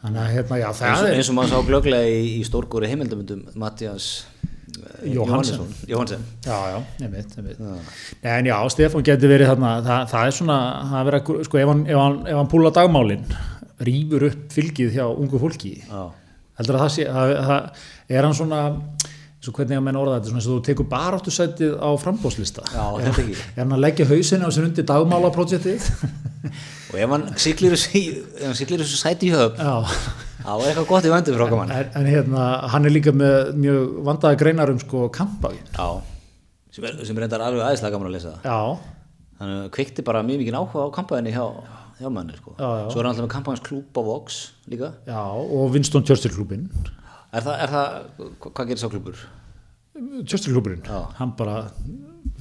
þannig að hérna, já Eins það og, er eins og maður sá glögglega í, í stórgóri heimildamundum Mattias eh, Johansen. Jóhannesson. já, já, nefnitt, nefnitt. Nei, en já, Stefán geti verið þarna það, það er svona, það er verið að gr- sko, ef hann, ef hann, ef hann púla dagmálin rýfur upp fylgið hjá ungu fólki Já. heldur að það sé það, það er hann svona eins og hvernig að menn orða þetta svona eins og þú tekur baráttu sætið á frambóðslista Já, er, þetta ekki. er hann að leggja hausin á sér undir dagmálaprojektið Og ef hann siglir þessu, í- ef hann siglir þessu sæti í höfn, já þá er eitthvað gott í vendu frá okkur mann. en, en hérna, hann er líka með mjög vandaða greinar um sko kampagin Já, sem er, sem er reyndar alveg aðeinslega gaman að lesa það. já, Þannig að kveikti bara mjög mikið áhuga á kampaðinni hjá, hjá manni sko. Já, já. Svo er hann alltaf með kampaðins klúb á Vox líka. já og Winston Churchill klubin Er það, er það hva- hvað gerir sá klúbur? Churchill kluburinn, Já. hann bara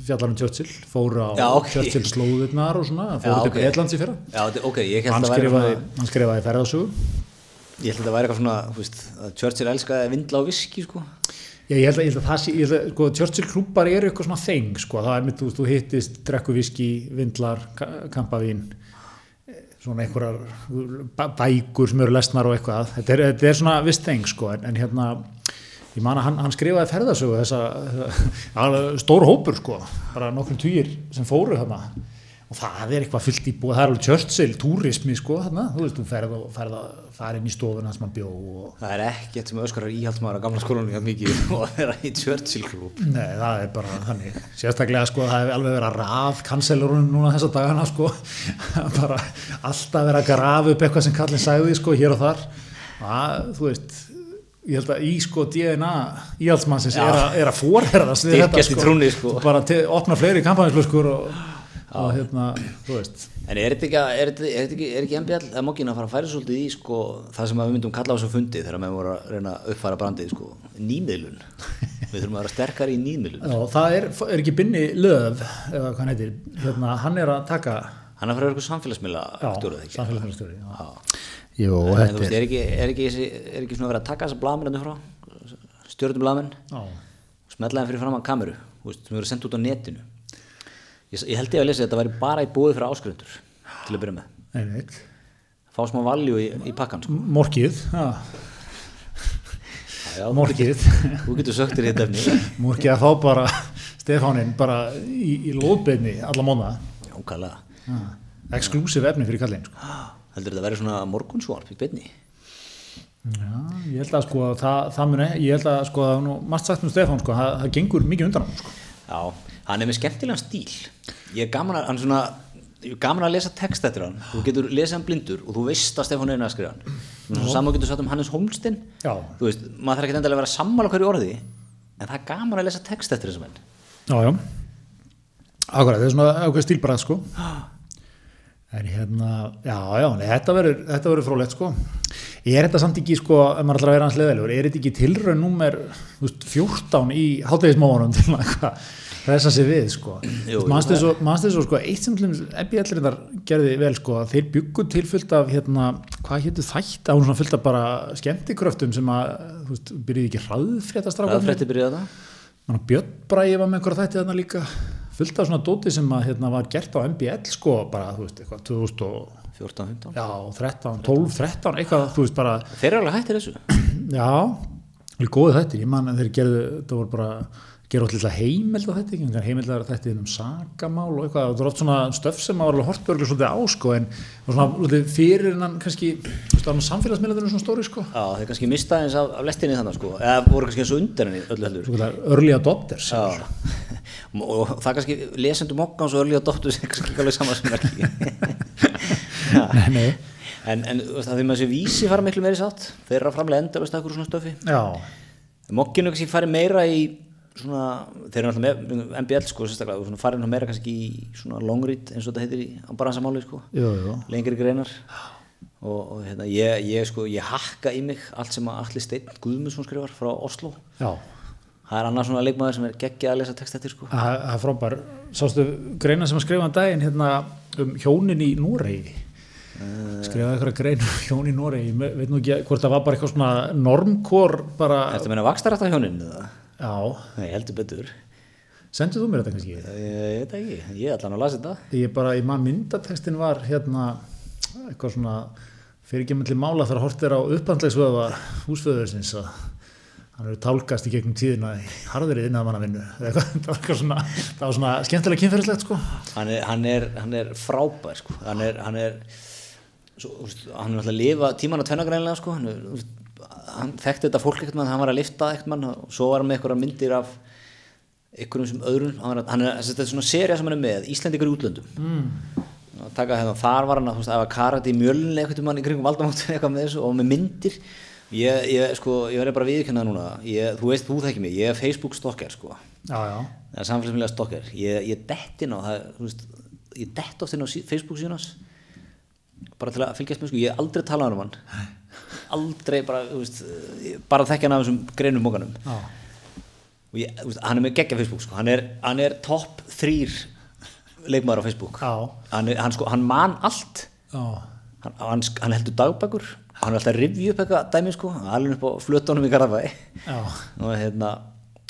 fjallar um Churchill, fór á Já, ok. Churchill slóðirnar og svona, fór Já, til ok. okay. Breitlands í fyrra Já, þetta- ok, ég held hann að það væri, skrifaði, svona, hann skrifaði ferðasögu ég held að það væri eitthvað svona, þú veist, að Churchill elskaði vindla og viski sko. Já, ég held að, ég held að það sé, ég held að, sko, Churchill klúpar eru eitthvað svona þeng, sko, það er mitt, þú, veist, þú hittist, drekku viski, vindlar, ka- kampavín, eh, svona einhverjar bæ- bækur sem eru lesnar og eitthvað, þetta er, þetta er svona viss þeng, sko, en, en hérna, ég man að hann, hann skrifaði ferðasögu þessa, þessa stór hópur, sko, bara nokkrum týr sem fóru þarna og það er eitthvað fullt í búið, það er alveg Churchill, túrismi, sko, þarna, þú veist, þú ferð og ferð að fara inn í stofuna sem hann bjó og Það er ekkert sem öskar íhaldsmaður á gamla skólanum hjá mikið og að vera í Churchill klúb. Nei, það er bara þannig. Sérstaklega sko, það hefur alveg verið að raf kanselurunum núna þessa dagana sko. bara alltaf verið að grafa upp eitthvað sem kallinn sagði sko, hér og þar. Það, þú veist, ég held að í sko DNA íhaldsmannsins er, að- er að forherðast við þetta Styrkjast í trúnni, sko. Bara til, opna fleiri kampanjinsluskur og, og hérna, þú veist. En er þetta ekki, að- er þetta, er þetta ekki, er ekki MBL að mokkin að fara að færa svolítið í sko, það sem að við myndum kalla á þessu fundi þegar við vorum að reyna að uppfæra brandið sko, nýmiðlun. Við þurfum að vera sterkari í nýmiðlun. Já, það er, er ekki binni löf, eða hvað hann heitir, hérna, hann er að taka, Hann er að fara að vera eitthvað samfélagsmiðla já, stjórað ekki. samfélagsmyndastjóri. Já. Jú, En þú veist, er ekki, er ekki, þessi- er ekki svona verið að taka þessa blamin frá, stjórnum blamin, Já. smetlaðan fyrir fram að kameru, þú veist, sem eru sendt út á netinu. Ég, s- ég held ég að lesa að þetta væri bara í búið fyrir áskrendur til að byrja með. Einmitt. Fá smá valjú í, í pakkan, sko. Morkið, já, Já, morkið. Þú getur sökt þér í þetta efni. Morkið að fá bara Stefánin bara í, í lóðbeinni alla móna. Jókala. Exclusive efni fyrir kallinn. Sko. Heldur þetta að vera svona morgunsvarp í beinni? Já, ég held að sko það, það muni, ég held að sko það er nú margt sagt um Stefán sko, það, það gengur mikið undan hann sko. Já, hann er með skemmtilegan stíl. Ég er gaman að, hann svona, ég er gaman að lesa text eftir hann. Þú getur lesað hann blindur og þú veist að Stefán Einar skrifa hann. Svona saman getur sagt um Hannes Holmstein. Já. Þú veist, maður þarf ekki endilega að vera sammála hverju orði, en það er gaman að lesa text eftir þessum enn. Já, já. Akkurat, það er svona ákveð stílbræð sko. En hérna, já, já, nei, þetta verður þetta verður frólægt sko. er þetta samt ekki sko, ef maður ætlar að vera hans leðilegur er þetta ekki tilraun númer þú veist, 14 í hátægismóðunum til að eitthvað resa sig við sko Jú, jú, mannstu svo, manstu svo sko, eitt sem ebbi allir þar gerði vel sko að þeir byggu til fullt af hérna, hvað hétu þætt án svona fullt af bara skemmtikröftum sem að, þú veist, byrjuði ekki Hvað hraðfréttastrákum frétti byrjaði þetta? Þannig að Björn Bræði var með einhverja þætti þarna líka fullt af svona dóti sem að hérna var gert á MBL sko bara, þú veist, eitthvað 2000 og 14, 15 já, 13, 12, 13 eitthvað, þú veist, bara, Þeir eru alveg hættir þessu já við góðu þættir, ég man að þeir gerðu það voru bara, gerðu allir lilla heimild á þetta, ekki, heimild að þetta um sakamál og eitthvað, það var oft svona stöf sem maður var alveg hortbörglu svolítið á sko en var svona, svolítið fyrir innan kannski þú veist, samfélagsmiðlaðurinn svona stóri sko Já, þeir kannski mistaði eins af, af lestinni þannig sko eða voru kannski eins og undan henni öllu heldur early adopters Já, og það kannski lesendum okkans og örlíða dóttu sem kannski ekki alveg saman sem verki nei, nei, en, en þú veist, það fyrir maður sem vísi fara miklu meiri sátt þeir eru að framlega endalast akkur svona stöfi já Mokkinu kannski fari meira í svona, þeir eru náttúrulega með MBL sko sérstaklega, og svona farið nú meira kannski í svona longread eins og þetta heitir í ambaransamáli sko, jú, jú. lengri greinar og, og hérna, ég, ég sko ég hakka í mig allt sem að Alli Steinn Guðmundsson skrifar frá Oslo Já, það er annars svona leikmaður sem er geggjað að lesa text eftir sko, það það er frábær. Sástu greina sem að skrifa um daginn hérna um hjónin í Noregi. Eh. Skrifaði eitthvað grein um hjónin í Noregi. Ég veit nú ekki hvort það var bara eitthvað svona normkor bara, Ertu að meina vakstarætt af hjóninu það? já, Nei, heldur betur. sendu þú mér þetta kannski? Ég, ég veit það ekki, ég ætla hann að lasa þetta. Ég bara, ég maður myndatextin var hérna eitthvað svona fyrirgemmalli mála þegar hort er á upphandlegsvöða húsföðursins að hann eru tálkast í gegnum tíðina í harðrið innan mannavinnu. Það var eitthvað svona, það var svona skemmtilega kynferðislegt sko. Hann er, hann er, hann er frábær, sko. Hann er, hann er, svo, úst, hann er alltaf að lifa tíman á tvennagrænlega, sko. Hann, er, úst, hann þekkti þetta fólk ekkert mann, hann var að lifta ekkert mann og svo var hann með einhverja myndir af einhverjum sem öðrum. Hann var, að- hann er, þessi- þetta er svona seria sem hann er með, Íslendikur í útlöndum. Mm. Taka, hérna, þar var hann að, þú veist, að karati í mjölunni einhvern mann í kringum valdamóttu eitthvað með þessu og með myndir. Ég, ég, sko, ég verði bara viðkennað núna. Ég, þú veist, þú þekki mig, ég er Facebook stalker, sko. Já, já. það er samfélagsmiðlega stokkar ég, ég dett inn á það, þú veist, ég dett oft inn á sí- Facebook síðunas bara til að fylgjast með sko, ég hef aldrei talað um hann aldrei bara, þú veist ég- bara þekkja hann af þessum greinum mókanum Já, og ég, þú veist, hann er með geggja Facebook sko, hann er, hann er top 3 leikmaður á Facebook já, hann, er, hann, sko, hann man allt já, hann, hann, sk- hann heldur dagbækur hann er alltaf að rifja upp eitthvað dæmi sko alveg upp á flötunum í Garðabæi já, og hérna,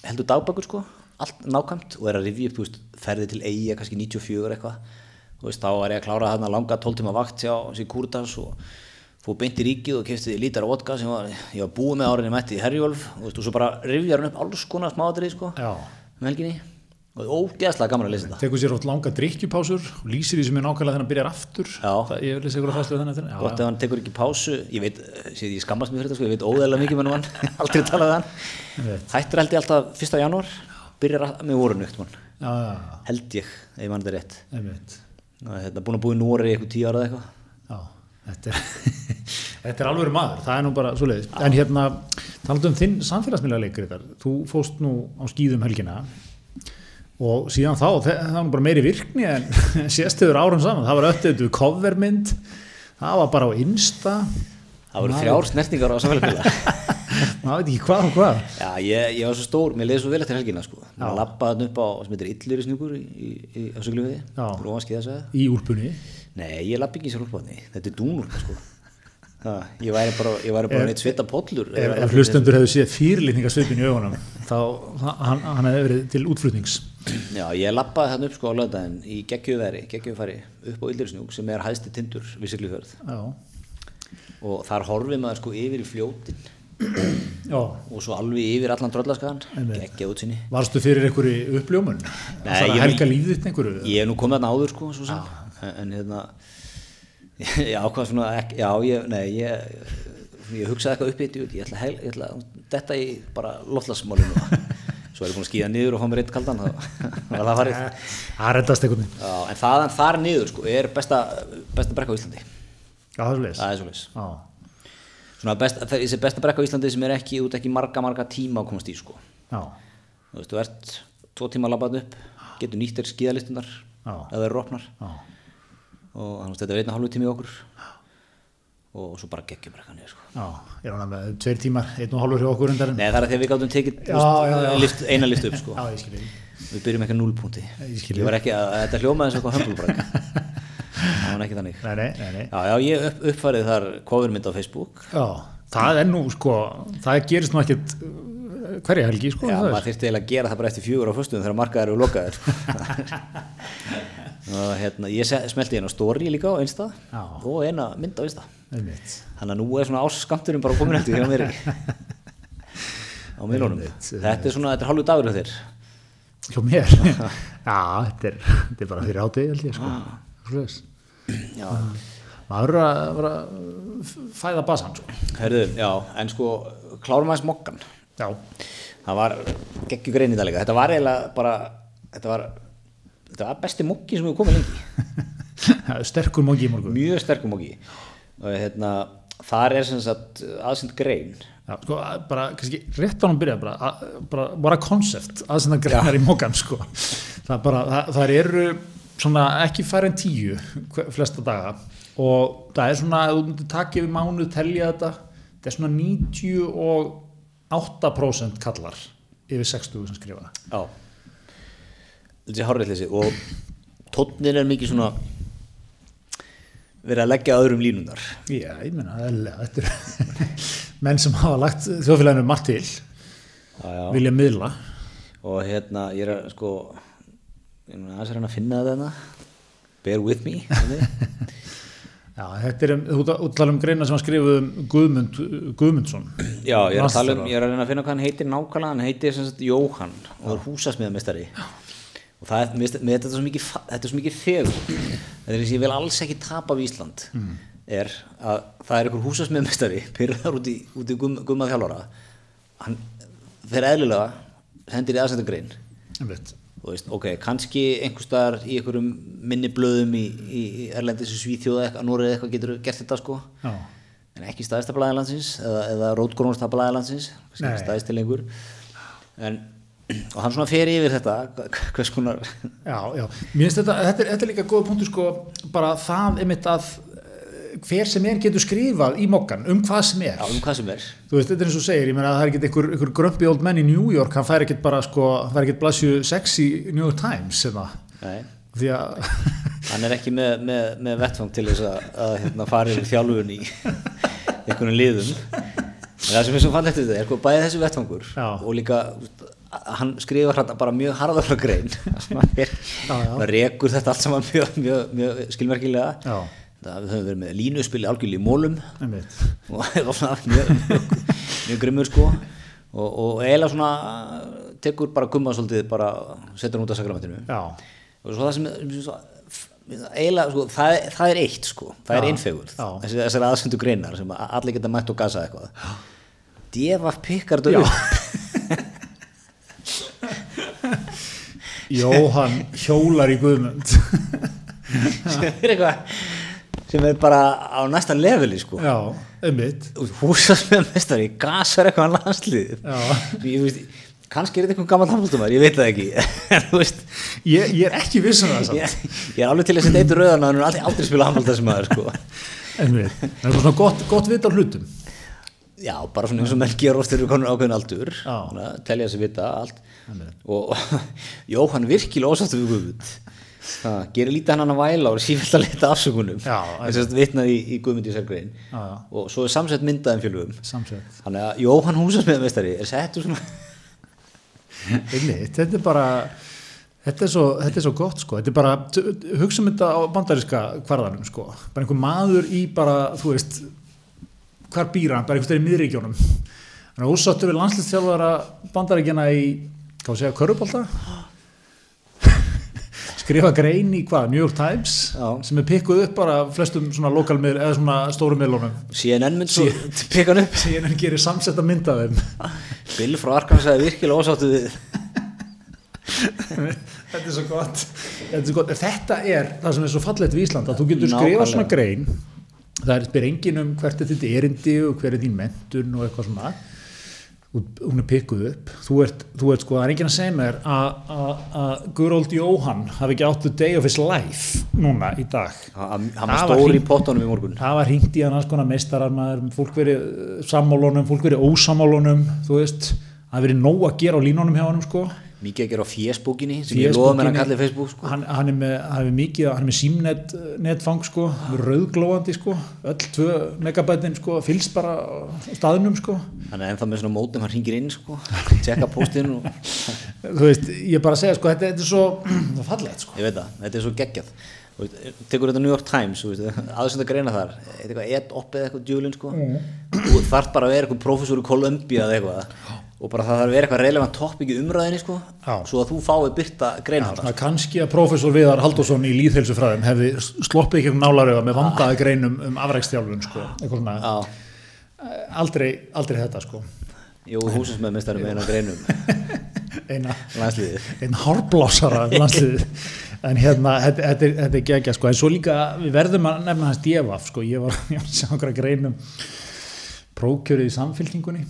heldur dagbækur sko allt nákvæmt og er að rifja upp þú veist, ferði til eiga kannski 94 eitthvað þú veist, þá var ég að klára þarna langa 12 tíma vakt hjá Sigurdas og fór beint í ríkið og kefti lítar af vodka sem var, ég var búið með árinni mætti í Herjólf og, veist, og svo bara rifjar hann upp alls konar smáatrið sko, já. um helginni og það er ógeðslega gaman að lesa þetta Tekur sér oft langa drikkjupásur og lýsir því sem er nákvæmlega þegar hann byrjar aftur. Já. Það, ég lýsir ykkur að fæslega þannig þannig. gott ef hann tekur ekki pásu ég veit, eh, sé, ég skammast mér fyrir þetta sko, ég veit óðæðilega mikið með hann aldrei talað við hann hættur held ég alltaf 1. janúar byrjar að- með vorun eitt mann Já, já, já, held ég, ef ég mann þetta rétt einmitt. Ná, hérna, búin að búa í Nóri í eitthvað tíu ára eða eitthvað Já, þetta er, þetta er alveg maður, það er nú bara svo leiðis. En hérna, talandum um þinn samfélagsmiðlega leikriðar, þú fóst nú á skýðum helgina og síðan þá, þe- það var nú bara meiri virkni en sérstöður árum saman, það var öttuðu covermynd, það var bara á Insta, það voru þrjár snertningar á samfélagsmiðla maður veit ekki hvað og hvað. já, ég, ég var svo stór, mér leiði svo vel eftir helgina sko. maður lappaði hann upp á, sem heitir Illurisnjúkur í, í, í Ösuglufiði, Já. Róanski þess að Í úlpunni. nei, ég lappi ekki sér upp á henni, þetta er dúnur sko. ha, ég væri bara, ég væri bara neitt svita pollur ef, ef hlustendur hefðu séð fyrirlitningarsvipin í augunum þá hann, hann hefði verið til útflutnings já, ég lappaði hann upp sko á lögdæðin í geggjufæri, geggjufæri upp á Illurisnjúk sem er hæðsti tindur við Siglufjörð já, og þar horfið maður sko yfir í fljótin já. og svo alveg yfir allan dröllaskagan Einmitt. geggjað útsinni varstu fyrir einhverju uppljómun Nei, Nei, ég- helga lífið þitt einhverju Ég hef nú komið þarna áður sko, svo sem, en, en hérna, ég ákvað svona, ekki, já, ég, nei, ég, ég hugsaði eitthvað upp í þetta, ég ætla, að heil, ég ætla, að- þetta í bara loftlagsmálinu, svo er ég búin að skýja niður og fá mér eitt kaldan, þá var það farið. það Eh, reddast einhvern veginn Já, en þaðan þar niður sko, er besta, besta brekka á Íslandi, já, það er svoleiðis. það er svolítið. Já. Svona best, þessi besta brekka á Íslandi sem er ekki, út ekki marga, marga tíma að komast í sko. já, Þú veist, þú ert tvo tíma að labbaða upp, getur nýtt þér skíðalistunar, Já. eða eru opnar. já, og hann veist, þetta er einn og hálfu tími í okkur og svo bara geggjum rekkanir sko. Já, ég er ánægð með tveir tímar, einn og hálfur hjá okkur undar en Nei, það er að því að við gáttum tekið Já, þú veist, já, já. Lift, eina lift upp sko. Já, ég skil ég. Við byrjum ekki að núlpunti Ég skil Ég var ekki að, þetta hljómaði eins og eitthvað hömbulbrak Það var ekki þannig Nei, nei, nei, nei. Já, já, ég upp, uppfærið þar covermynd á Facebook Já, það er nú, sko, það gerist nú ekkert uh, hverja helgi, sko. Já, það er- maður þyrfti eiginlega að gera það bara eftir fjögur á föstum þegar markaðar eru lokaðir sko. og hérna, ég se- smelti hérna story líka á Insta Já. og eina mynd á Insta Einmitt. Þannig að nú er svona áskamturinn bara komin eftir hjá mér á miðlunum Einmitt, Þetta er svona, þetta er hálfu dagur hjá þér Hjá mér. Já, þetta er, þetta er bara fyrir átið, held ég, sko. Svoleiðis. Já, Maður verður að, verður að f- fæða basan, sko. herðu, já, en sko klárum aðeins mokkan Já. Það var geggjur grein í dag líka Þetta var eiginlega bara þetta var, þetta var besti mokki sem við komið lengi Sterkur móki í morgun. Mjög sterkum mokki og hérna, þar er sem sagt aðsend grein Já, sko, að- bara, kannski, rétt á hann byrja bara, að- bara, bara konsept, aðsenda greinar í mókan, sko. Það er bara, það, það eru svona ekki færri en tíu hve- flesta daga og það er svona, ef þú myndir taka yfir mánuð, telja þetta, þetta er svona 98% kallar yfir 60 sem skrifa það. Já Þetta er hárreitleysi og tónnin er mikið svona verið að leggja öðrum línunar Já, ég meina, eðlilega, þetta eru menn sem hafa lagt þjóðfélaginu margt til, já, vilja miðla. og hérna ég er að sko ég mun aðeins er hann að finna þetta hérna bear with me hvernig? Já, þetta er, um- þú ert að- þú ert að tala um greina sem að skrifa um Guðmund, Guðmundsson. já ég er að tala um Mastara. ég er að reyna að finna hvað hann heitir nákvæmlega hann heitir sem sagt Jóhann og er húsasmiðamestari og það er, mér, finnst- mér, finnst þetta er svo mikið fa- þetta er svo mikið fegur þetta er eins og ég vil alls ekki tapa af Ísland er að það er einhver húsasmiðamestari pyrraðar út í, út í gum, gummað þjálfara hann fer eðlilega hendir í aðsendum grein Einmitt. þú veist, ok, kannski einhvers staðar í einhverjum minni blöðum í, í í Erlendis og Svíþjóða eitthvað, Núrið eitthvað getur gert þetta sko Já, en ekki staðistablaði landsins eða, eða rótgrónstablaði landsins kannski Nei. ekki staðistil lengur en, og hann svona fer yfir þetta hva- hvers konar já, já. Mér finnst þetta, þetta er, þetta er líka góða punktu sko, bara það einmitt að eh, hver sem er getur skrifað í mokkan um hvað sem er. já, um hvað sem er Þú veist, þetta er eins og þú segir, ég meina að það er ekkert einhver, einhver grömpi old man í New York, hann fær ekkert bara sko, hann fær ekkert blassju sexy New York Times sem það, Nei. því að hann er ekki með, með, með vettfang til þess að, að hérna, fara yfir þjálfun í einhvern liðum En það sem er svo fallegt við þetta er sko bæði þessi vettfangur Já. og líka þú veist, að- hann skrifar hann bara mjög harðarlega grein Já, já. það rekur þetta allt saman mjög, mjög, mjög skilmerkilega Já. það, við höfum verið með línuspil algjörlega í mólum einmitt. og það var svona mjög, mjög, mjög grimmur sko og, og eiginlega svona tekur bara gumma svolítið bara setur hann út af sakramentinu Já, og svo það sem, sem svo, eiginlega, sko, það, það er eitt sko, það er Já, einfegur já. þessi, þessar aðsendu greinar sem að allir geta mætt og gasa eitthvað djefa pikkar Já. þetta upp Jóhann hjólar í Guðmund. sem er eitthvað sem er bara á næsta leveli sko Já, einmitt. húsasmiðamestari, gasar eitthvað landslið Já. ég veist kannski er þetta eitthvað gammal handbóltumar, ég veit það ekki en þú veist Ég, ég er ekki viss um það samt. ég, ég er alveg til að setja eitt rauðan að hann er aldrei, aldrei spila handbólta sem maður sko Einmitt. Það er svona gott, gott vit á hlutum. Já, bara svona eins og menn gera og styrir konur ákveðin aldur, Já. svona, telja sig vita allt Einmitt. og Jóhann virkilega ósáttu við Guðmund ha, gerir lítið hann hann að væla og er sífælt að leta afsökunum Já, þess að vitnaði í, í Guðmund í sérgrein Já, já. og svo er samsett myndaðum fjölugum Samsett. þannig að Jóhann húsasmiðamestari er settur svona Einmitt. Þetta er bara, þetta er svo, þetta er svo gott sko. Þetta er bara, t- t- hugsa um þetta á bandaríska kvarðanum sko. Bara einhver maður í bara, þú veist, hvar býr hann, bara einhvers þær í miðríkjónum. Þannig að úrsáttu við landslistjálfara bandaríkjana í, hvað segja, Körubolta? skrifa grein í hvað, New York Times Já. sem er pikkuð upp bara af flestum svona lokalmiðl eða svona stórum miðlunum CNN mynd svo pekka hann upp CNN gerir samsetta mynd af þeim Bill frá Arkansas er virkilega ósáttu við Þetta er svo gott Þetta er, svo gott. Þetta er það sem er svo fallegt við Ísland að þú getur skrifað Nákvæmlega. svona grein það er spyr engin um hvert er þitt erindi og hver er þín mentun og eitthvað svona Þú- hún er pikkuð upp þú ert, þú ert sko, það er enginn að segja mér að- að að good old Johan hafi ekki átt the day of his life núna í dag hann hann var Það var stór í hringt- pottunum í morgun það var hringt í hann alls konar meistarar maður, fólk verið eh, sammálunum fólk verið ósammálunum, þú veist það hafi verið nóg að gera á línunum hjá honum sko mikið að gera á fésbúkinni sem ég lofa mér að kalla í Facebook sko. hann, hann er með, hann er með mikið, hann er með símnet netfang sko, rauðglóandi sko öll tvö megabætin sko fylgst bara á staðnum sko hann er ennþá með svona mótum, hann ringir inn sko, tjekka póstinn og þú veist, ég er bara að segja sko þetta, þetta er svo, það er fallegt sko ég veit það, þetta er svo geggjað Þú veist, tekur þetta New York Times aðsönda greina þar, eitthvað edd opp eða eitthvað djúlin sko og þarf bara að vera eitthvað prófessor í Columbia eða eitthvað og bara það þarf að vera eitthvað relevant topic í umræðinni sko, Já. svo að þú fáið byrta greina það er kannski að prófessor Viðar Haldursson í líðhelsufræðum hefði sloppið ekki um nálaröga með vandaða greinum um afrækstjálfun sko, eitthvað svona, Já, aldrei, aldrei þetta sko Jó, húsinsmeð mistarum eina greinum eina landsliðið einn hárblásara um landsliðið. en hérna, þetta, þetta, er- þetta er gegja sko. en svo líka, við verðum að nefna hans djefaf sko. ég var ég var að sjá okkur að greinum prókjörið í samfylkingunni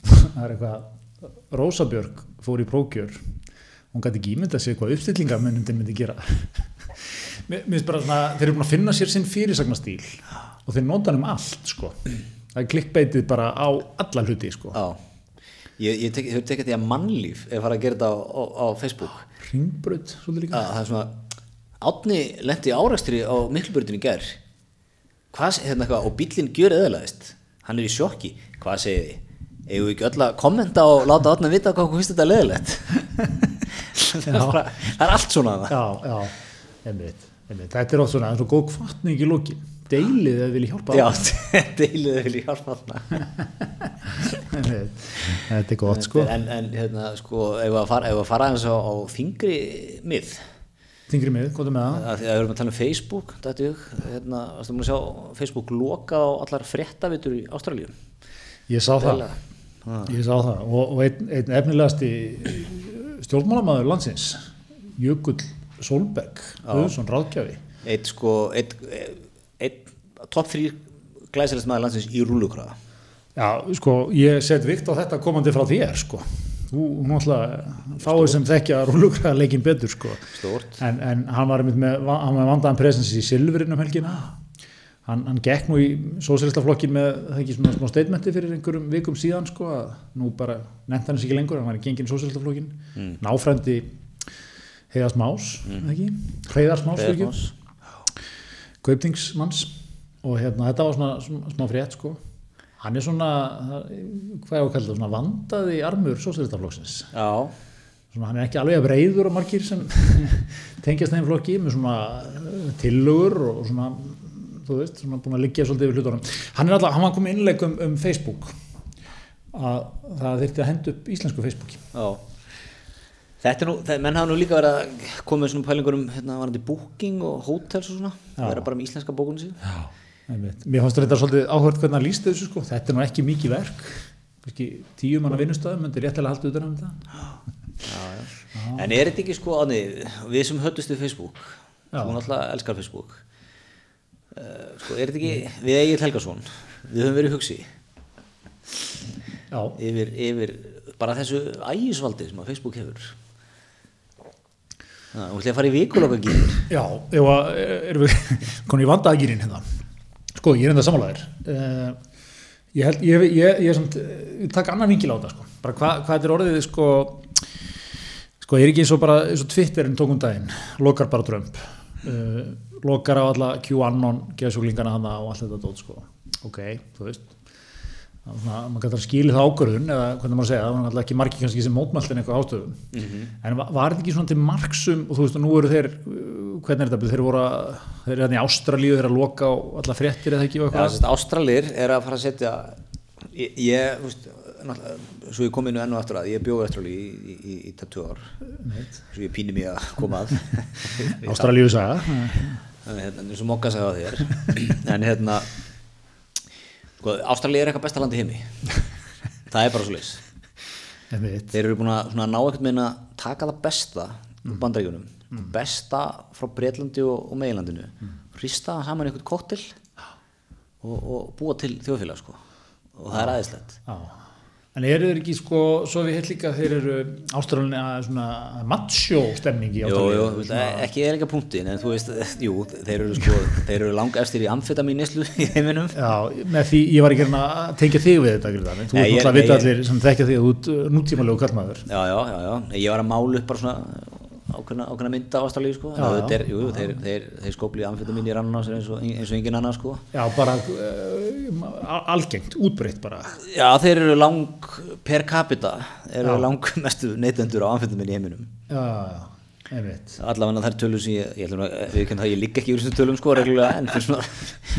það er eitthvað Rósabjörg fór í prókjör hún gæti ekki ímyndað sér hvað uppstillingamennundin myndi gera mér mér finnst bara svona, þeir eru búin að finna sér sinn fyrirsagnastýl og þeir nota hann um allt sko. það er klikkbeitið bara á alla hluti sko. Já Ég, ég tek, hefur tekið því að mannlíf ef fara að gera þetta á, á, á Facebook ringbröð, svolítið líka að, Það er svona Átni lendi árakstri á Mikluburðinu í gær Hvað segir hérna eitthvað og bíllinn gjör eðalaðist Hann er í sjokki Hvað segir þið? Eigum við ekki öll að kommenta og láta Átni vita hvað okkur finnst þetta leðilegt það, er bara- það er allt svona það já, já, einmitt, einmitt. þetta er oft svona, það er svo góð kvartning í lókin deilið ef þið vilja hjálpa Já, deilið vil ég hjálpa þarna Einmitt. þetta er gott sko En, en hérna, sko, ef að fara, ef að fara eins á, á þingri mið þingri mið, komdu með það að því að við erum að tala um Facebook þetta er hérna, varstu múin að sjá Facebook loka á allar fréttavitur í Ástralíu ég sá það, Deila. ég sá það. og, og einn, einn efnilegasti eh, stjórnmálamaður landsins Jökull Solberg Guðsson Ráðgjafi eitt sko eitt, eitt topp þrý glæsilegst maður landsins í rúlukraða já, sko, ég set vikt á þetta komandi frá þér sko þú náttúrulega fáið sem þekkja rúlugraða leikin betur sko Stórt. en, en hann var einmitt með, hann var með vandaðan presens í silfurinn um helgina hann, hann gekk nú í sóséristaflokkin með það ekki svona smá statementi fyrir einhverjum vikum síðan sko að nú bara nefnt hann þess ekki lengur, hann var í gengin sóséristaflokkin mm. náfrændi Heiðars Más, mm. ekki? Heiðars Más, Hreiðars ekki? Más. kauptingsmanns og hérna, þetta var svona sm- smá frétt sko hann er svona, hvað ég á að kalla það, svona vandaði armur sóséristaflokksins já, svona, hann er ekki alveg að breyður og margir sem tengjast þeim flokki með svona eh, tillögur og svona, þú veist, svona búin að liggja svolítið yfir hlutunum. Hann er alltaf, hann var komið innleik um, um Facebook að það þyrfti að henda upp íslensku Facebooki. já þetta er nú, það, menn hafa nú líka verið að koma með svona pælingur um hérna varandi booking og hotels og svona Já. vera bara með íslenska bókunum sín Já. Einmitt. Mér fannst þetta svolítið áhört hvernig hann lýsti þessu sko, þetta er nú ekki mikið verk, ekki tíu manna vinnustöðum, myndi réttilega halda utan um þetta. En er þetta ekki sko, Ánni, við sem höttust við Facebook, Já. þú náttúrulega elskar Facebook, uh, sko, er þetta ekki, við Egil Helgason, við höfum verið hugsi Já. yfir, yfir bara þessu ægisvaldi sem að Facebook hefur. Það, hún ætlaði að fara í vikuloka gýr. Já, ef að, eh, erum við konum í vandaðagýrin hérna sko, ég er enda samanlæður uh, ég held, ég, ég, ég, ég, samt, eh, ég takk annan vingil á þetta sko, bara hva, hvað þetta er orðið sko sko, ég er ekki eins og bara eins og Twitterin tókum daginn, lokar bara Trump uh, lokar á alla QAnon, geðsjúklingana hana og allt þetta dót sko, ok, þú veist Það var svona, maður kannar skilja það ákvörðun eða hvernig maður að segja, það var náttúrulega ekki margir kannski sem mótmæltin eitthvað ástöðum en var, var þetta ekki svona til marksum og þú veist og nú eru þeir, uh, hvernig er þetta þeir voru að, þeir eru hérna í Ástralíu þeir eru að loka á alla fréttir eða ekki og Já, eitthvað sérst, Ástralir er að fara að setja ég, ég þú veist, náttúrulega svo ég kom inn og enn og aftur að ég bjóði Ástrali í, í, í, í 20 ár svo ég pínir mér að koma að Ástralíu sagða Þannig, hérna, eins og Mokka sagði á þér en hérna sko, Ástralía er eitthvað besta land í heimi það er bara svo leys einmitt, þeir eru búin að svona, ná ekkert meina að taka það besta úr bandaríkunum besta frá Bretlandi og, og Meilandinu mm. rista það saman í eitthvað kóttil Ah. og, og búa til þjóðfélag sko. og það er aðeinslegt já En eru þeir ekki sko, svo við heilt líka þeir eru ástralina svona macho stemningi Jú, jú, þú veist, e- ekki eða líka punktin en þú veist, e- jú, þeir eru sko þeir eru langefstir í amfetamín neslu í heiminum Já, með því ég var ekki hérna að tengja þig við þetta Gríðar, en þú Nei, ert ég- náttúrulega að nei, vita ég- allir sem þekkja þig að þú ert uh, nútímalegu kallmaður. Já, já, já, já, ég var að mála upp bara svona ákveðna, ákveðna mynda á Ástralíu sko já, já. er, jú, jú, þeir, þeir, þeir skóplið amfetamín í rannan á sér eins og, eins og engin annað sko Já, bara uh, algengt, útbreytt bara. Já, þeir eru lang per capita eru lang mestu neytendur á amfetamín í heiminum Já, já, einmitt. allavega þær tölur sem ég, ég ætlum að við kynna það, ég ligg ekki úr þessum tölum sko reglulega en fyrir svona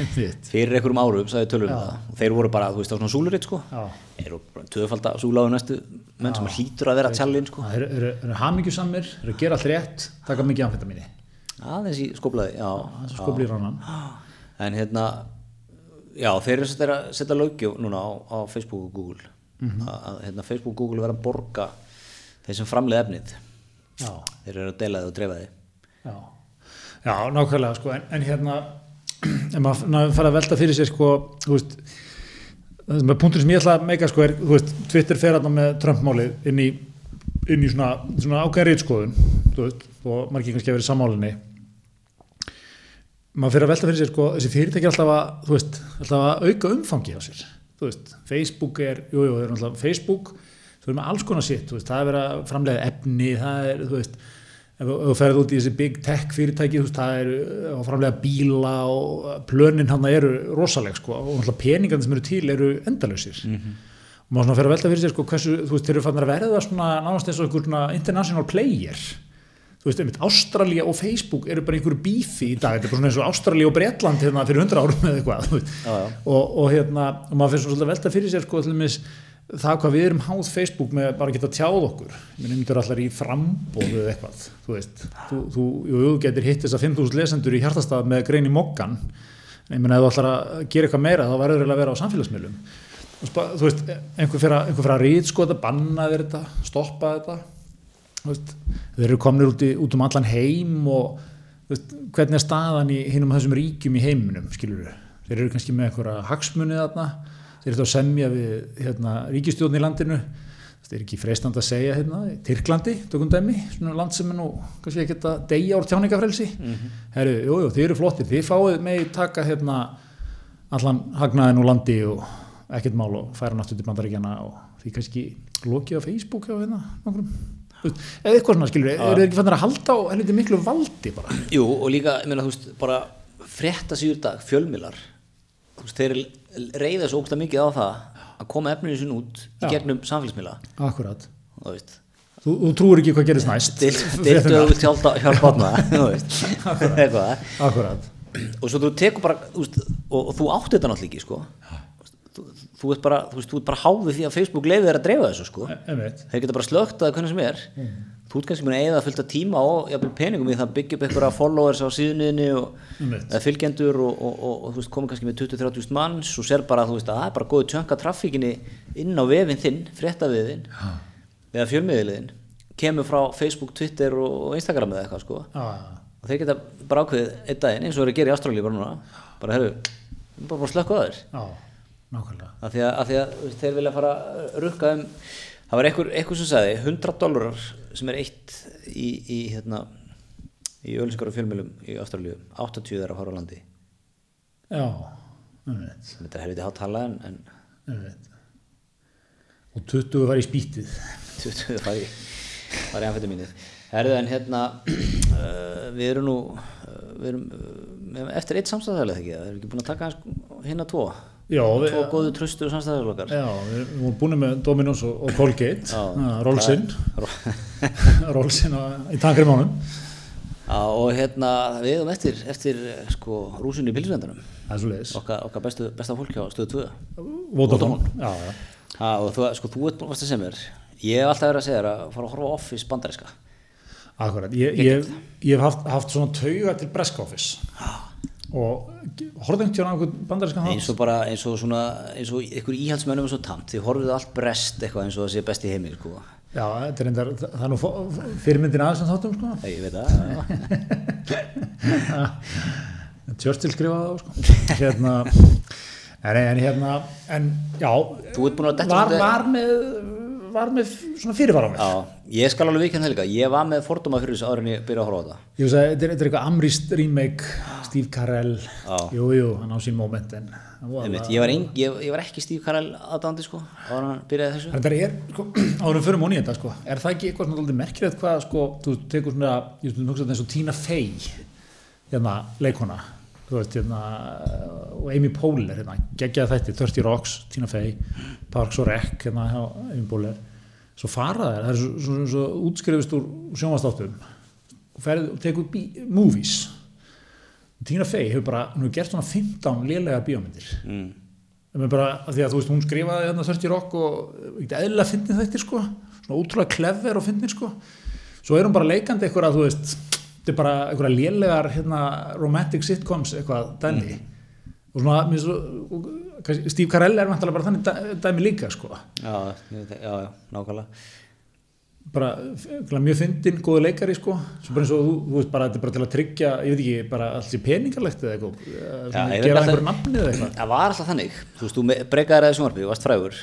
Einmitt. fyrir einhverjum árum sagði tölum það og þeir voru bara, þú veist, á svona súluritt sko Já. þeir eru bara tvöfald að súla á næstu menn sem hlýtur að vera tjallinn sko Það eru, eru, eru hamingjusamir, eru að gera allt rétt, taka mikið amfetamíni. aðeins í skóplaði, já, Það sko blýr annan. en hérna já, þeir eru sem sagt að setja löggjöf núna á, á Facebook og Google að, að hérna, Facebook og Google vera að borga þeir sem framlega efnið Já, þeir eru að dela þið og dreifa þið já. Já, nákvæmlega sko, en, en hérna, en maður ná, fara að velta fyrir sér sko, þú veist, það sem er punktur sem ég ætla að meika sko er, þú veist, Twitter fer hérna með Trump-málið inn í, inn í svona, svona ákveðin rítskoðun, þú veist, og margir kannski að vera í sammálinni. maður fyrir að velta fyrir sér sko, þessi fyrirtæki er alltaf að, þú veist, alltaf að auka umfangi á sér, þú veist, Facebook er, jú, jú, það er alltaf Facebook þú er með alls konar sitt, þú veist, það er verið að framlega efni, það er, þú veist ef þú- ef þú ferð út í þessi big tech fyrirtæki þú veist, það er uh, að framlega bíla og plönin hann eru rosaleg sko, og alltaf peningarnir sem eru til eru endalausir og maður svona fyrir að velta fyrir sér sko, hversu, þú veist, þeir eru fannar að verða svona nánast eins og einhver svona international player þú veist, einmitt Ástralja og Facebook eru bara í einhverju bífi í dag, þetta er bara svona eins og Ástralja og Bretland hérna fyrir 100 árum eða eitthvað þú veist. Já, já. og, og hérna, og maður fyrir svona að velta fyrir sér sko, til dæmis það hvað við erum háð Facebook með bara að geta tjáð okkur minn myndur allar í frambóðu eða eitthvað þú veist, þú, þú, jú, jú, getur hitt þess að 5.000 lesendur í hjartastað með grein í mokkan en ég meina ef þú ætlar að gera eitthvað meira þá verður eiginlega að vera á samfélagsmiðlum Og spa- þú veist, einhver fyrir að, einhver fyrir að rýtskota banna þér þetta, stoppa þetta Þú veist, þeir eru komnir út, í, út um allan heim og þú veist, hvernig er staðan í hinum þessum ríkjum í heiminum skilur þeir eru kannski með einhverja hagsmunni þarna þeir eru þá að semja við hérna, ríkistjórn í landinu þeir eru ekki freistand að segja hérna, Tyrklandi, tökum dæmi, svona land sem er nú kannski ekki að deyja úr tjáningafrelsi herru, jú, jú, þeir eru flottir, þið fáið með taka hérna allan hagnaðin úr landi og ekkert mál og færa hann aftur til bandaríkjana og því kannski lokið á Facebook á hérna nokkrum Þú veist, eða eitthvað svona skilur, eru þeir ekki fannir að halda á helviti miklu valdi bara Jú, og líka, ég meina, þú veist, bara frétta síður dag, fjölmilar þú veist, þeir reyða svo ógsta mikið á það að koma efninu sinni út í Já. gegnum samfélagsmila akkurat, þú veist, þú, þú trúir ekki hvað gerist næst deildu og tjálta hjálpa hana, þú veist eitthvað, akkurat, og svo þú tekur bara þú veist, og, og þú átti þetta náttúrulega ekki, sko þú, þú ert bara, þú veist, þú ert bara háðið því að Facebook leiði þér að dreifa þessu, sko E, einmitt þeir geta bara slögt að hvernig sem er þú ert kannski mun að eigða fullt af tíma og jafnvel peningum í það að byggja upp einhverja followers á síðunniðinni og Einmitt. eða fylgjendur og, og, og, og þú veist komið kannski með 20-30 manns og sér bara þú veist að það er bara góði tjönka trafíkinni inn á vefinn þinn, fréttaviðinn eða fjölmiðliðinn kemur frá Facebook, Twitter og, og Instagram eða eitthvað sko Já, já, og þeir geta bara ákveðið einn daginn eins og eru að gera í Ástralíu bara núna bara herru, við erum bara búin að slökka á þér já, nákvæmlega af því að, af því að þú veist, þeir vilja fara að rukka um það var einhver, einhver sem sagði 100 dólarar sem er eitt í, í hérna í ölsingar og fjölmjölum í Ástralíu 80 þeirra fara á landi já, einmitt, þetta er helviti hátt tala en, en einmitt og 20 var í spýtið 20 fari fari anfættu mínir herðu en hérna uh, við erum nú uh, við erum, uh, eftir eitt samstæðarlega ekki eða? erum við ekki búin að taka hans hérna tvo já, við, tvo góðu tröstu samstæðarlokkar já, við við vorum búin með Dominos og, og Colgate Já. Rolsinn Rolsinn á- í tankrymónum Já, og hérna við erum eftir, eftir eh, sko, rúsinu í pilsvendunum það er svo leiðis okkar, okkar bestu, besta fólk hjá stöðu 2 Vodafone já, já. ha, og þú, sko, þú ert búin að fasta sem er ég hef alltaf verið að segja þér að fara að horfa á Office bandaríska Akkurat, ég, ég, ég hef haft, haft svona tauga til Bresk Office og horfði einhvern tíðan á einhvern bandarískan þátt eins og bara eins og svona eins og ykkur íhaldsmennum er svo tamt þið horfið á allt brest eitthvað eins og það sé best í heimi sko. Já, þetta er endar, það er nú fó- fyrirmyndin aðeins en þáttum sko Nei, ég veit það já. Churchill skrifaði það sko. hérna, en, en hérna, en já Þú ert búin að detta var, svolítið- var með var með svona fyrirvara á mig Já, ég skal alveg vikinn helga, ég var með fordóma fyrir þessu áður en ég byrja að horfa á þetta. ég veist að þetta er, þetta er eitthvað Amrist remake Steve Carell, jú, jú, hann á sín moment en hann voða- Einmitt, ég, var ein, ég, ég var ekki Steve Carell aðdándi sko, áður en hann byrjaði þessu. Þetta er, sko, árum fyrir móni þetta, sko, er það ekki eitthvað svona dálítið merkilegt hvað, sko, þú tekur svona, ég veist, hugsa þetta eins og Tina Fey, hérna, leikona, þú veist, hérna, og Amy Poehler, hérna, geggjaði þetta, 30 Rocks, Tina Fey, Parks og Rec, hérna, hjá Amy Poehler, svo fara þær, það er svo, svo, svo, svo útskrifist úr sjónvastáttum og ferði og tekur bí, movies. Tina Fey hefur bara, hún hefur gert svona 15 lélegar bíómyndir Mm. Það er bara, af því að þú veist, hún skrifaði hérna 30 Rock og ekkert eðlilega fyndin þetta, sko, svona ótrúlega klefver og fyndin, sko. Svo er hún bara leikandi eitthvað, þú veist, þetta er bara eitthvað lélegar, hérna, romantic sitcoms eitthvað, Mm. dæmi. Og svona, mér svo, og, kannski, Steve Carell er vantilega bara þannig dæ- dæmi líka, sko. Já, ég veit það, já, já, nákvæmlega. Bara, eitthvað mjög fyndin, góði leikari, sko. Svo bara eins og, þú, þú veist, bara, þetta er bara til að tryggja, ég veit ekki, bara allt í peningarlegt eða eitthvað, eh, Já, ég svona, veit gera alltaf- einhver nafni eða eitthvað. Það var alltaf þannig, þú veist, þú me- breykaðir aðeins sjónvarpi, varst frægur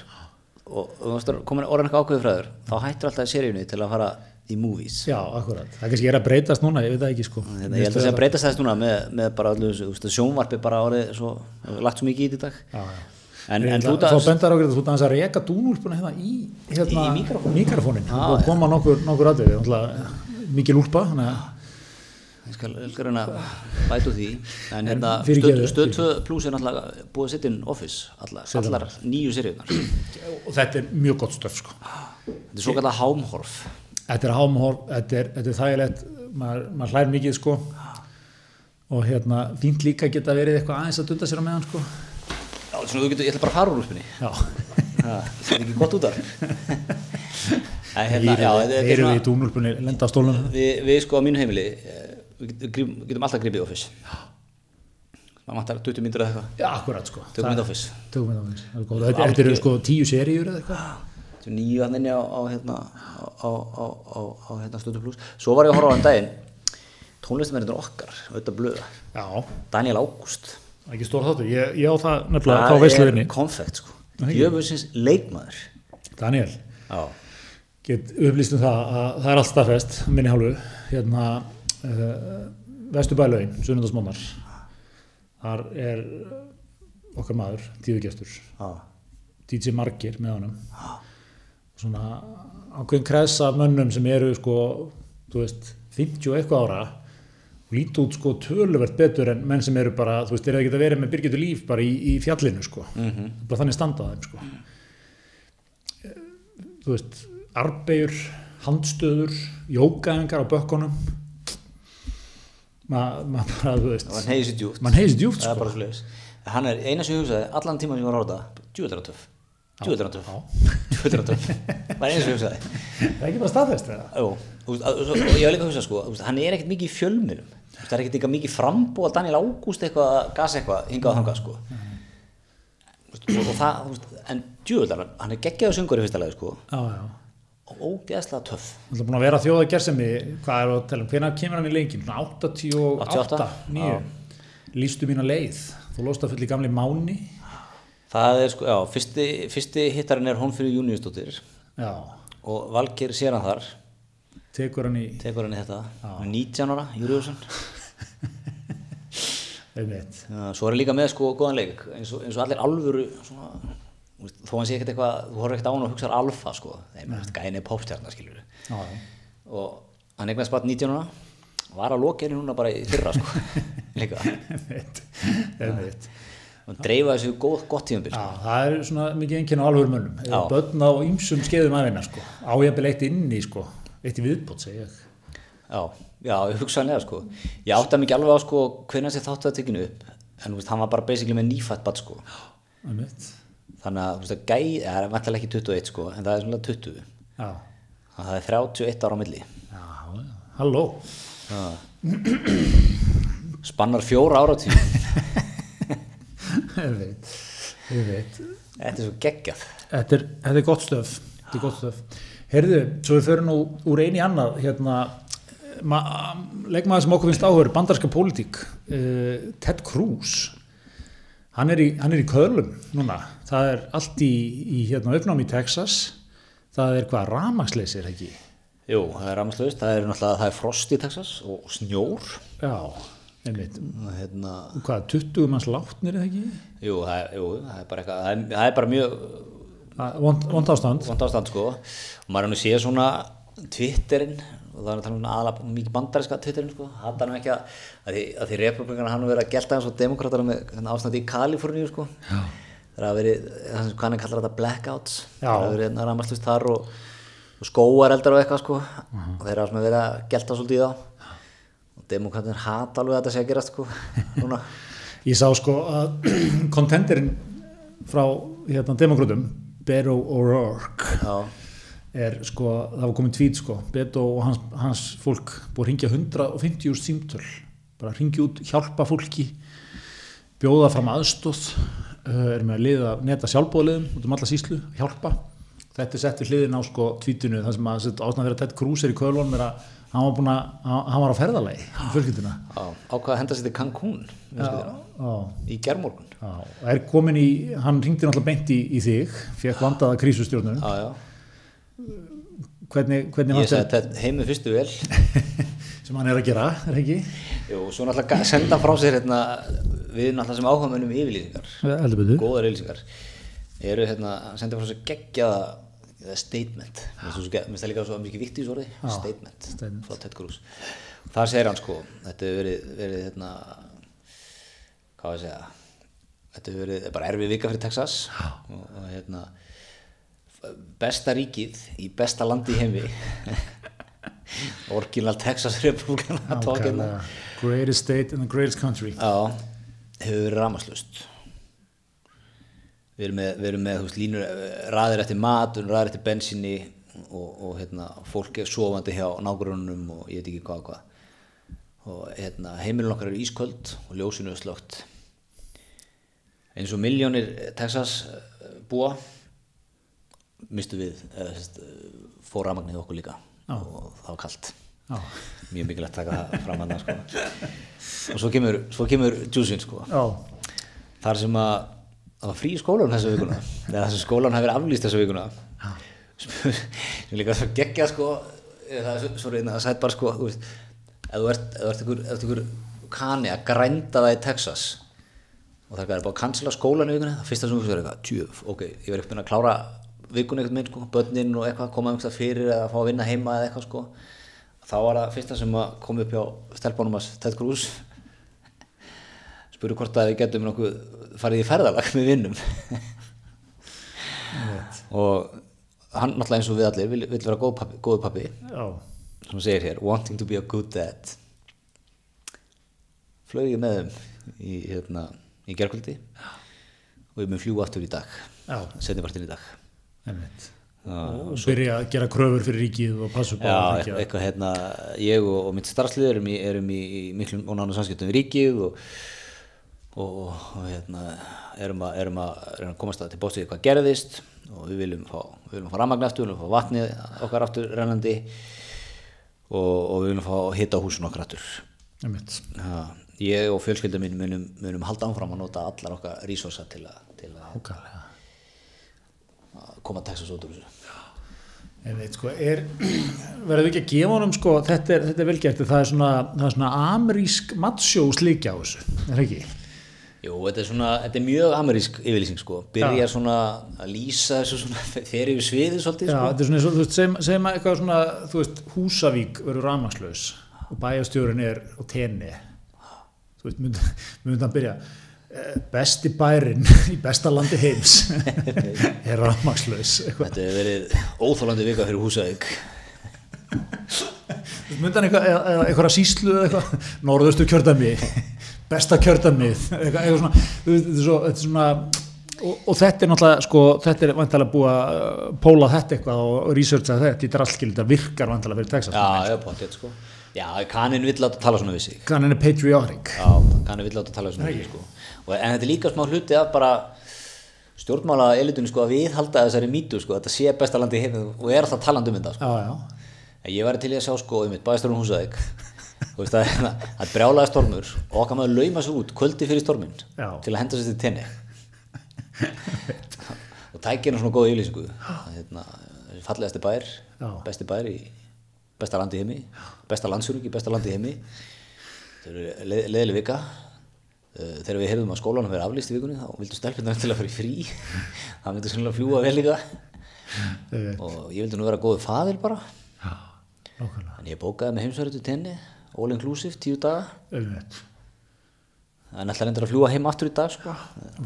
og þú varst komin orðan eitthvað ákveðið frægur, þá hættur alltaf seríunni til að fara í movies. Já, akkurat. Það kannski er að breytast núna, ég veit það ekki sko. Þetta, ég held að segja að breytast þess núna með, með bara allu þessu, þú veist, að sjónvarpi bara orðið svo, lagt svo mikið í þetta í dag. Já, já. En- en þú þú daðst- bendar okkur að þú daðast að reka dúnúlpuna hérna í, hérna, Í mikrofónin, og koma nokkur, nokkur aðrið, mikil úlpa þannig að Ég skal elskar reyna að bæta úr því en hérna, fyrirgefðu, stöð 2 pluss er náttúrulega búið að setja inn Office allar, allar nýju seriðunar þetta og þetta er mjög gott stöf sko. er svo kallar hámhorf þetta er hámhorf, þetta er, þetta er þægilegt maður, maður hlær mikið sko. og hérna, fínt líka geta verið eitthvað aðeins að dunda sér á meðan sko. Já, svona, þú getur, ég ætla bara að fara úr úlpunni Já, það er ekki gott út þar Nei, hérna, já, þetta heyrið þetta er við í svona dúnúlpunni lenda á stólunum við, við sko á mínu heimili eh, við getum, gríp- getum alltaf gripið Office maður vantar 20 myndir eða eitthvað Já, akkurat sko. Tökum Það- þetta Office. Tökum þetta office. það er gott. Þetta þetta eru sko tíu seríur eða eitthvað. Þetta er nýju hann inni á, á, hérna, á, á, á, á, á hérna, stöðu pluss svo var ég að horfa á hann daginn tónlistamennir okkar, auðvitað blöða Já, Daniel Ágúst það er ekki stór þáttur. Ég, ég á það nefnilega þá veisluðinni. konfekt sko Jöfusins leikmaður Daniel, Já get upplýst um það að það er allt staðfest, af minni hálfu, hérna uh, Vesturbælögin, sunnundasmónar. Þar er okkar maður, tíðugestur, Já, DJ Margir með honum. Svona ákveðin kressa af mönnum sem eru sko, þú veist, 50 og eitthvað ára og líti út sko töluvert betur en menn sem eru bara, þú veist, eru ekki að vera með Birgitur Líf bara í, í fjallinu sko Mhm. bara þannig standa á þeim sko þú veist, arbegjur handstöður, jókaðingar á bökkunum maður ma bara, þú veist það var neyðis í djúft mann heist djúft Það er sko bara sliðis Hann er eina sem ég hugsaði allan tíma sem ég var að horfa á þetta Djúðar á töf Djúðar á töf Djúðar á töf Það er eina sem ég hugsaði það er ekki bara staðfest eða? Jú, þú veist, að- svo- og ég var líka að hugsa sko þú veist, Hann er ekkert mikið í fjölmjölum Það er ekkert eitthvað mikið frambúa Daniel Ágúst eitthvað að gasa eitthvað hingað og þangað sko Þú veist, og, og það, þú veist, En djúðar, hann er geggjaðu söngur í fyrsta lagi sko Já, já, og ógeðslega töff Það er búin að vera þjóða gersemi, hvað er að tala um, hvenær kemur hann í lengjum? Svona 88, 88, 9, lístu mína leið, þú lóst að fulli gamli máni, Það er sko, já, fyrsti, fyrsti hittarinn er Hónfríður Júniusdóttir já, og Valgeir sér hann þar, tekur hann í, tekur hann í þetta, Hún er 19 ára, Júriðsson. einmitt, Svo er hann líka með sko góðan leik, eins og, eins og allir alvöru, svona, þú veist, þó hann sé ekkert eitthvað, þú horfir ekkert á hann og hugsar alfa sko, þeim er gæni popstjarnar skiljur. já, já. Og hann eignast bara 19 ára, var að loka henni núna bara í fyrra sko, líka. einmitt, einmitt. Og dreifa þessu góð, gott tíðumbil. Já, það er svona mikið enginn á alvöru mönnum, Já. börn á ýmsum skeiðum aðeina, sko, ájafnvel eitt inn í, sko, eitt í viðbót, segja ég. Já, já, hugsanlega sko. Ég átti að mikið alveg á sko hvernig þessi þáttu að tekinu upp, en þú veist, hann var bara basically með nýfætt bat sko. Einmitt, Þannig að, þú veist, að gæ, það er vantilega ekki 21 sko, en það er svona 20. já, Þannig að það er 31 ára á milli. já, já, halló, Spannar fjóra ára tíu. einmitt, einmitt. Þetta er svo geggjað. Þetta er, þetta er gott stöf Þetta er gott stöf Herðu, svo við förum nú úr einu í annað hérna, ma leikmaður sem okkur finnst áhör bandarska pólitík uh, Ted Cruz eh, hann er í, hann er í kölum núna, það er allt í, í hérna uppnámi í Texas það er hvað ramagsleysir ekki Jú, það er ramaslaust, það er náttúrulega það er frost í Texas og snjór já, einmitt og hérna, hvað, 20 manns látnir eða ekki jú, það er, jú, það er bara eitthvað það er, það er bara mjög Það- vond vond ástand vond ástand sko og maður er nú séð svona Twitterinn og það er að tala um aðla mikið bandariska Twitterinn sko, hann er nú ekki að að því, að því republikana hann verið að gelta eins og demokratana með hérna, ástand í Kaliforníu sko Já. það er að verið, það sem hann kallar þetta blackouts, Já. það er að verið rammarslust þar og, og skóareldar og eitthvað sko Mhm. og þeir eru að verið að gelta svolítið í þá og demokratin hata alveg að þetta sé að gerast sko núna, ég sá sko að kontenderinn frá hérna demokrátum Beto O'Rourke Já. er sko, það var komin tvít sko Beto og hans, hans fólk búið að ringja 150 úr símtöl bara ringja út, hjálpa fólki bjóða fram aðstóð uh, er með að liða neta sjálfbóðliðum út um alla síslu, hjálpa þetta er sett við hliðin á sko tvítinu þar sem að sett ásnað fyrir að þetta krús er í kölunum er að hann var, búin að, hann hann var á ferðalagi um fjölskyldina á, ákvað að henda sér til Cancún já, já. í germorgun Já, og er komin í, hann ringdi náttúrulega beint í, í þig, fekk vandaða krísustjórnum Já, já. hvernig, Ég hvernig vant sagði þetta heimið fyrstu vel er sem hann er að gera, er ekki Jú, og svo náttúrulega ga- senda frá sér hérna, við náttúrulega sem áhugamönnum yfirlýsingar heldur betur, góðar yfirlýsingar eru hérna, hann sendi frá sér geggjaða eða statement Mér finnst svo ge- mér finnst það líka svo mikið vitt í orði statement, statement. frá Ted Cruz þar segir hann sko, þetta hefur verið, verið hérna, hvað á ég að segja þetta hefur verið bara erfið vika fyrir Texas og, og hérna besta ríkið í besta landi í heimi orginal Texas Republican að tók hérna Nákvæmlega. greatest state in the greatest country Já, hefur verið ramaslust Við erum með, við erum með þú veist, línur, eh, raðir eftir matun, raðir eftir bensinni og, og hérna, fólk er sofandi hjá nágrunum og ég veit ekki hvað og hvað og hérna, heimilin okkar eru ísköld og ljósinu er slögt eins og miljónir Texas eh, búa mistu við eða, sest, eh, fór ramagnið okkur líka Já. og það var kalt já, mjög mikilvægt að taka það fram að það sko. og svo kemur, svo kemur Júsin sko. já, þar sem að það var frí í skólan þessu vikuna eða þar sem skólan hafi verið aflýst þessu vikuna sem líka svo geggja sko, eða það er svo- svo reyna að sætt bara sko, þú veist, ef þú ert, ef þú ert ykkur, ef þú ert ykkur kani að grænda það í Texas og það er bara að cancela skólan í vikuna það fyrsta sem þú fyrir eitthvað, tjöf, ok ég verið uppin að klára vikuna einhvern minn sko, börnin og eitthvað, koma einhvern veginn fyrir eða fá að vinna heima eða eitthvað sko þá var það fyrsta sem að kom upp hjá stelpunum að Ted Cruz spurði hvort að við getum nokkuð farið í ferðalag með vinnum og hann náttúrulega eins og við allir vil, vil vera góð pappi, góð pappi já sem segir hér, wanting to be a good dad flögi með þeim í, hérna, í gerkvöldi og ég mun fljú aftur í dag Já. setni partinn í dag einmitt Já, og byrja að gera kröfur fyrir ríkið og passa upp á Já, að eitthvað, ekki eitthvað hérna, ég og, og mitt starfslið erum í, erum í, í miklum og nánum samskiptum við ríkið og, og, og, hérna, erum að, erum að, erum að komast að til bóstið hvað gerðist og við viljum fá, við viljum fá rammagn aftur, við viljum fá vatnið okkar aftur rennandi og, og við viljum fá hita á húsin okkar aftur. einmitt Ha, ég og fjölskylda mín munum, munum halda ánfram að nota allar okkar resursa til að, til að Nákvæmlega. koma Texas út úr þessu. En veit sko, er, verðum við ekki að gefa honum sko, þetta er, þetta er velgert, það er svona, það er svona amerísk matsjó slíkja á þessu, er það ekki? Jú, þetta er svona, þetta er mjög amerísk yfirlýsing sko, byrja svona að lýsa þessu svona, fer yfir sviðið svolítið Já, sko. þetta er svona, eins og, þú veist, segjum, segjum að eitthvað svona, þú veist, Húsavík verður ramagslaus og bæjarstjórun er á tenni, þú veist, mynd, myndi hann byrja, eh, besti bærin í besta landi heims er ramagslaus, eitthvað, Þetta hefur verið óþólandi vika fyrir Húsavík. Þú veist, myndi hann eitthvað, eða- eða eitthvað síslu eða eitthvað, norðustu kjördami, besta kjördamið, eitthvað, eitthvað svona, þú veist, þetta er svo, þetta er svona, Og, og þetta er náttúrulega, sko, þetta er vantilega búið að eh, póla þetta eitthvað og researcha þetta í drallskil, þetta virkar vantilega fyrir Texas. Já, já, potið sko. Já, kanin vill láta tala svona við sig. Hann er patriotic. Já, kanin vill láta tala svona við sig sko. Og, en þetta er líka smá hluti af bara stjórnmála elitunni sko að viðhalda þessari mýtu sko, þetta sé besta landi heimið og er alltaf talandi um þetta sko. Já, já, En Ég væri til í að sjá sko, um mitt bæðstörun Húsavík, þú veist að það brjálaði stormur og okkar maður lauma svo út kvöldi fyrir stormin Já. til að henda sér til tenni og tækja hennar svona góða yfirlýsingu Að, hérna, fallegasti bær, Já. besti bær í besta landi heimi, besta landsjúringi besta landi heimi þau eru leð, leðileg vika Uh, þegar við heyrðum að skólanum verið aflýst í vikunni þá vildum stelpirnar til að fara í frí það myndi svona fljúa vel líka Eh, og ég vildi nú vera góðu faðil bara já, nákvæmlega Þannig ég bókaði með heimsverðu til tenni, all inclusive, tíu daga. Einmitt. En ætla reyndar að fljúa heim aftur í dag, sko.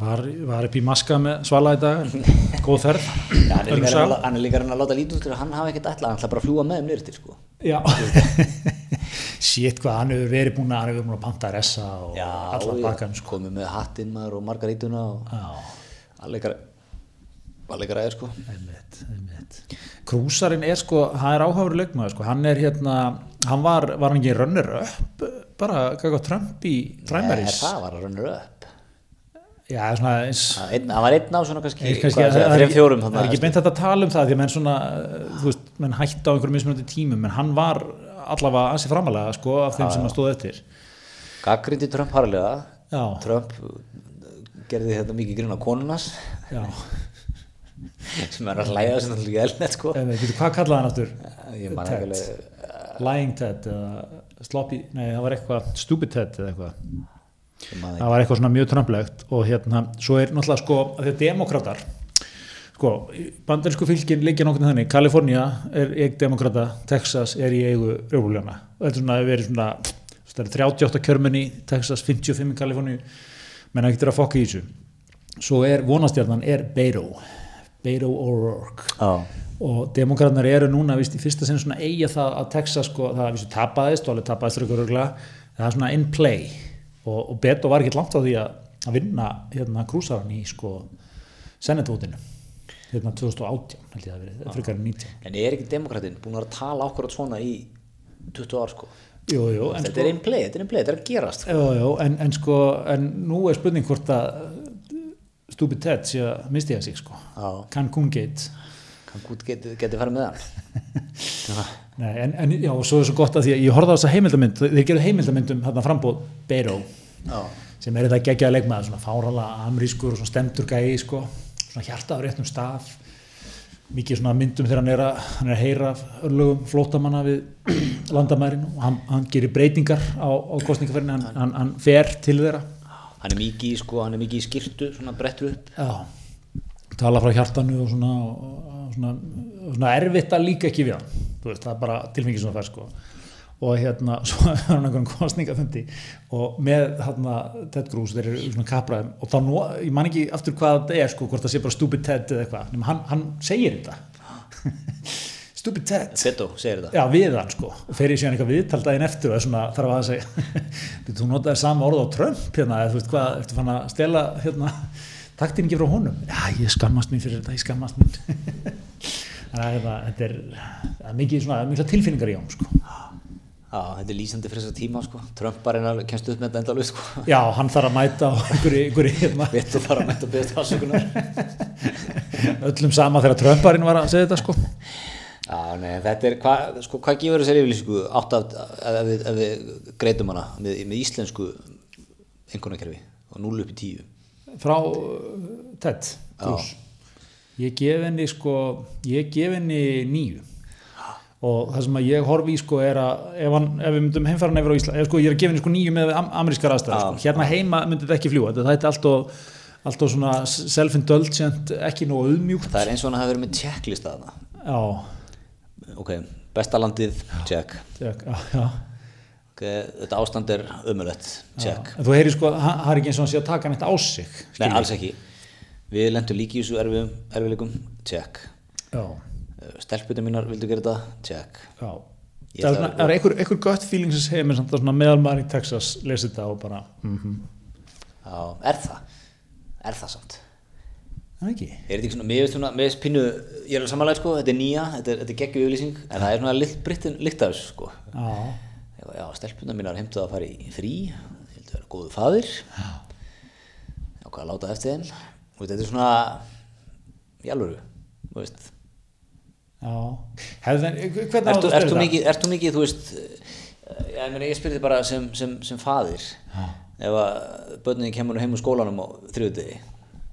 var, var upp í maska með svala í dag góð ferð Já, hann er líka að Önnur reyna sala. að- hann er líka að reyna að láta lítið út til að hann hafi ekkert ætlað, hann ætla bara að fljúa með um nýrtir, sko. já shit hvað hann hefur verið búin að hann hefur búin að panta ressa og Já, allar bakkan sko. komið með hattinn maður og margarítuna og já, allega, allega ræðir, sko. einmitt, einmitt. krúsarinn er sko hann er áhafur leikmaður sko hann er hérna hann var, var hann ekki runner up bara gæða Trump í Nei, primaries Eh, það var að runner up. já, svona eins Það einn- það var einn á svona Eh, kannski, Ég er kannski- hvað að segja, það er þrejum ekki- fjórum. það er ekki beint hægt að tala um það því að menn svona, uh, þú veist, menn hætta á einhverjum mismunandi tímum, en hann var allavega ansi framalega, sko, af þeim sem að stóð eftir Gaggrindi Trump harlega. já, Trump uh, gerði þetta mikið grinn á konunas já, sem er að hlæða sem það er elnett, sko. eða, getur, hvað kallaði hann aftur Ég man ekki alveg, lying Ted eða sloppy, nei, það var eitthvað stupid Ted eða eitthvað, Ég man það var eitthvað svona mjög trömplegt og hérna, svo er náttúrulega sko, að því að demókratar sko, bandarinsku fylgin liggja nokkurnu þannig, Kalifornía er í eig demokrata, Texas er í eigu rjóðbúljana, þetta er svona hefur verið svona, það er 38 kjörmenni Texas, 55 í Kaliforníu menn ekkert er að fokka í þessu svo er vonastjarnan er Beiro Beiro O'Rourke Já, og demokraternar eru núna víst, í fyrsta sinn svona eiga það að Texas sko, það víst, tapaðist og alveg tapaðist röggur það er svona in play og, og Beto var ekki langt á því að, að vinna hérna krúsaran í sko senetvótinu hérna 2018 held ég það hafi verið, frekar en 19 en ég er ekki demokratinn búin að vera að tala ákvarðat svona í 20 ár sko jú, jú, en, Þetta er einn play, þetta er einn play, þetta er að gerast sko. jú, jú, en, en sko en nú er spurning hvort að stupid Ted sé að misti það sig sko Já, Cancún Gate kann gút geti, geti farið með hann Nei, en, en já, og svo er svo gott að því að ég horfði á þessa heimildamynd, þeir gerðu heimildamynd um þarna frambóð Beiró Já, sem er þetta geggjaða leikmaður, svona fárala amrískur og svona stemtur gæi, sko, svona hjarta á réttum stað, mikið svona myndum þegar hann er að, hann er að heyra af örlögum flótamanna við landamærin og hann, hann gerir breytingar á, á kostningaferðinu, hann, hann, hann fer til þeirra. hann er mikið í sko, hann er mikið í skýrtu, svona brettur upp Já, tala frá hjartanu og svona, og svona, og svona erfitt að líka ekki við hann Þú veist, það er bara tilfengi svona fær sko og hérna, svo er hann einhvern kostningafundi og með hérna Ted Cruz, þeir eru svona kapraðum og þá, nú, ég man ekki aftur hvað þetta er sko hvort það sé bara stupid Ted eða eitthvað nema hann, hann segir þetta stupid Ted Beto segir þetta Já, við hann sko, og fer ég síðan eitthvað viðtal daginn eftir og er svona þarf að segja "Bíddu, þú notaði sama orð á Trump hérna, eða þú veist hvað, eftir fann að stela hérna, taktin ekki frá honum Já, ég skammast mín fyrir þetta, ég skammast mín Þannig að hérna, þetta er það er mikið svona, það er mikla tilfinningar í án sko. Já, þetta er lýsandi fyrir þessa tíma sko Trump bara hennar kemst upp með þetta endalveg sko Já, hann þarf að mæta á einhverju, einhverju hérna, Beto bara með þetta beðast afsökunar öllum sama þegar Trumparinn var að segja þetta sko. Já, nei, þetta er, hvað, sko, hvað gefur þessari yfirlýsingu átt af, ef við, ef við greitum hana með, með íslensku einhvernakerfi og 0 upp í 10 frá uh, Ted Cruz ég gef henni sko ég gef henni nýju og það sem að ég horfi í sko er að ef, hann, ef við myndum heimfæran yfir á Ísland eða sko ég er að gefa henni sko nýju með am amerískar aðstæður sko. hérna heima myndi þetta ekki fljúa þetta þetta er allt og, allt og svona self-indulgent ekki nógu auðmjúkt Það er eins og hann hafi verið með checklist að það. já, Ok, besta landið, check. tek, já, já. Ok, þetta ástand er ömulett, check. En þú heyrir sko, hann hann er ekki eins og hann sé að taka hann eitt á sig Nei, skilur. alls ekki. Við lendum líki í þessu erfiðum, erfiðleikum, check. já, Eh, Stelpunum mínar vildu gera þetta, check. já Ég það er, ætla svona, að- það er einhver, einhver gött feeling sem segir mér samt að svona meðalmaður í Texas lesi þetta og bara mhm Já, er það? Er það samt? Það ekki? Er þetta ekki svona, mér veist svona, mér veist pínu, ég er alveg samanlega sko, þetta er nýja, þetta er, þetta er geggjum yfirlýsing, en það er svona lit, brittin líkt af þessu sko. Já, Ég var, Já, stelpunum mínar heimtuð að fara í frí, ég held að vera góðu faðir, já, hvað að láta eftir þeim, og þetta er svona, í alvöru, þú veist, já. Hefðan, hvernig á Ertu, þetta að ertu, spila? mikið, ertu mikið, þú veist, eh, Já, ég, meina, ég spyrir þið bara sem, sem, sem faðir ef að börnin kemur nú heim úr skólanum á þriðudegi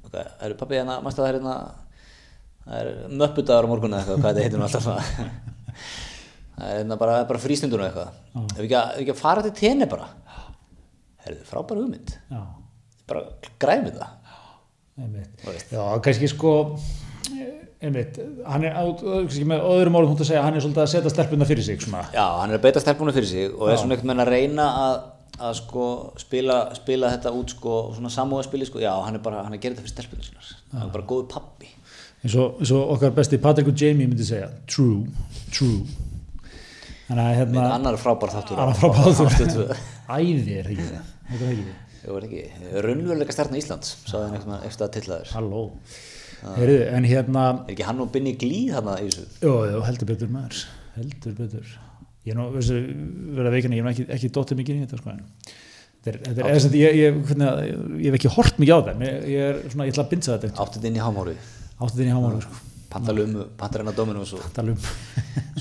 okay. eru pappi hérna, mæstu það er hérna það er möppudagur á morgun eða eitthvað hvað þetta heitir nú alltaf svona það er hérna bara, bara frístundunum eitthvað ef ekki, að, ef ekki að fara til tenni bara herðu, frábæra hugmynd já, bara græmi það einmitt Þú veist. já, kannski sko einmitt, hann er á, kannski með öðrum orðum hún að segja, hann er svolítið að setja stelpunna fyrir sig svona, já, hann er að beita stelpunum fyrir sig og er svona einhvern veginn að reyna að að sko spila, spila þetta út sko svona samúðaspili sko, já hann er bara hann er að gera þetta fyrir stelpunum sinnar, hann er bara góður pappi eins og, eins og okkar besti Patrick og Jamie myndi segja, true true þannig að Minn hérna, annar frábár þáttur hann er frá báður Ástöð tvö. æðir, ekki það, þetta er ekki það Ég var ekki, raunveruleika stjarnar Íslands sagði hann eitthvað eftir að tillaður Halló Heyrðu, en hérna Er ekki hann og Binni Glý þarna í þessu? Jó, jó, heldur betur maður Heldur betur Ég er nú, veistu, verða veikina, ég er nú ekki, ekki dóttið mikið inn í þetta sko en Þetta er, þetta er, eða sem þetta, ég, ég, hvernig, að- ég hef ekki hort mikið á þetta Mér- Ég er svona, ég ætla að binda þetta Áttið inn í um, hámári Áttið inn í hámára, sko um Pantalumu, Pantarina Dominus hérna og Talum,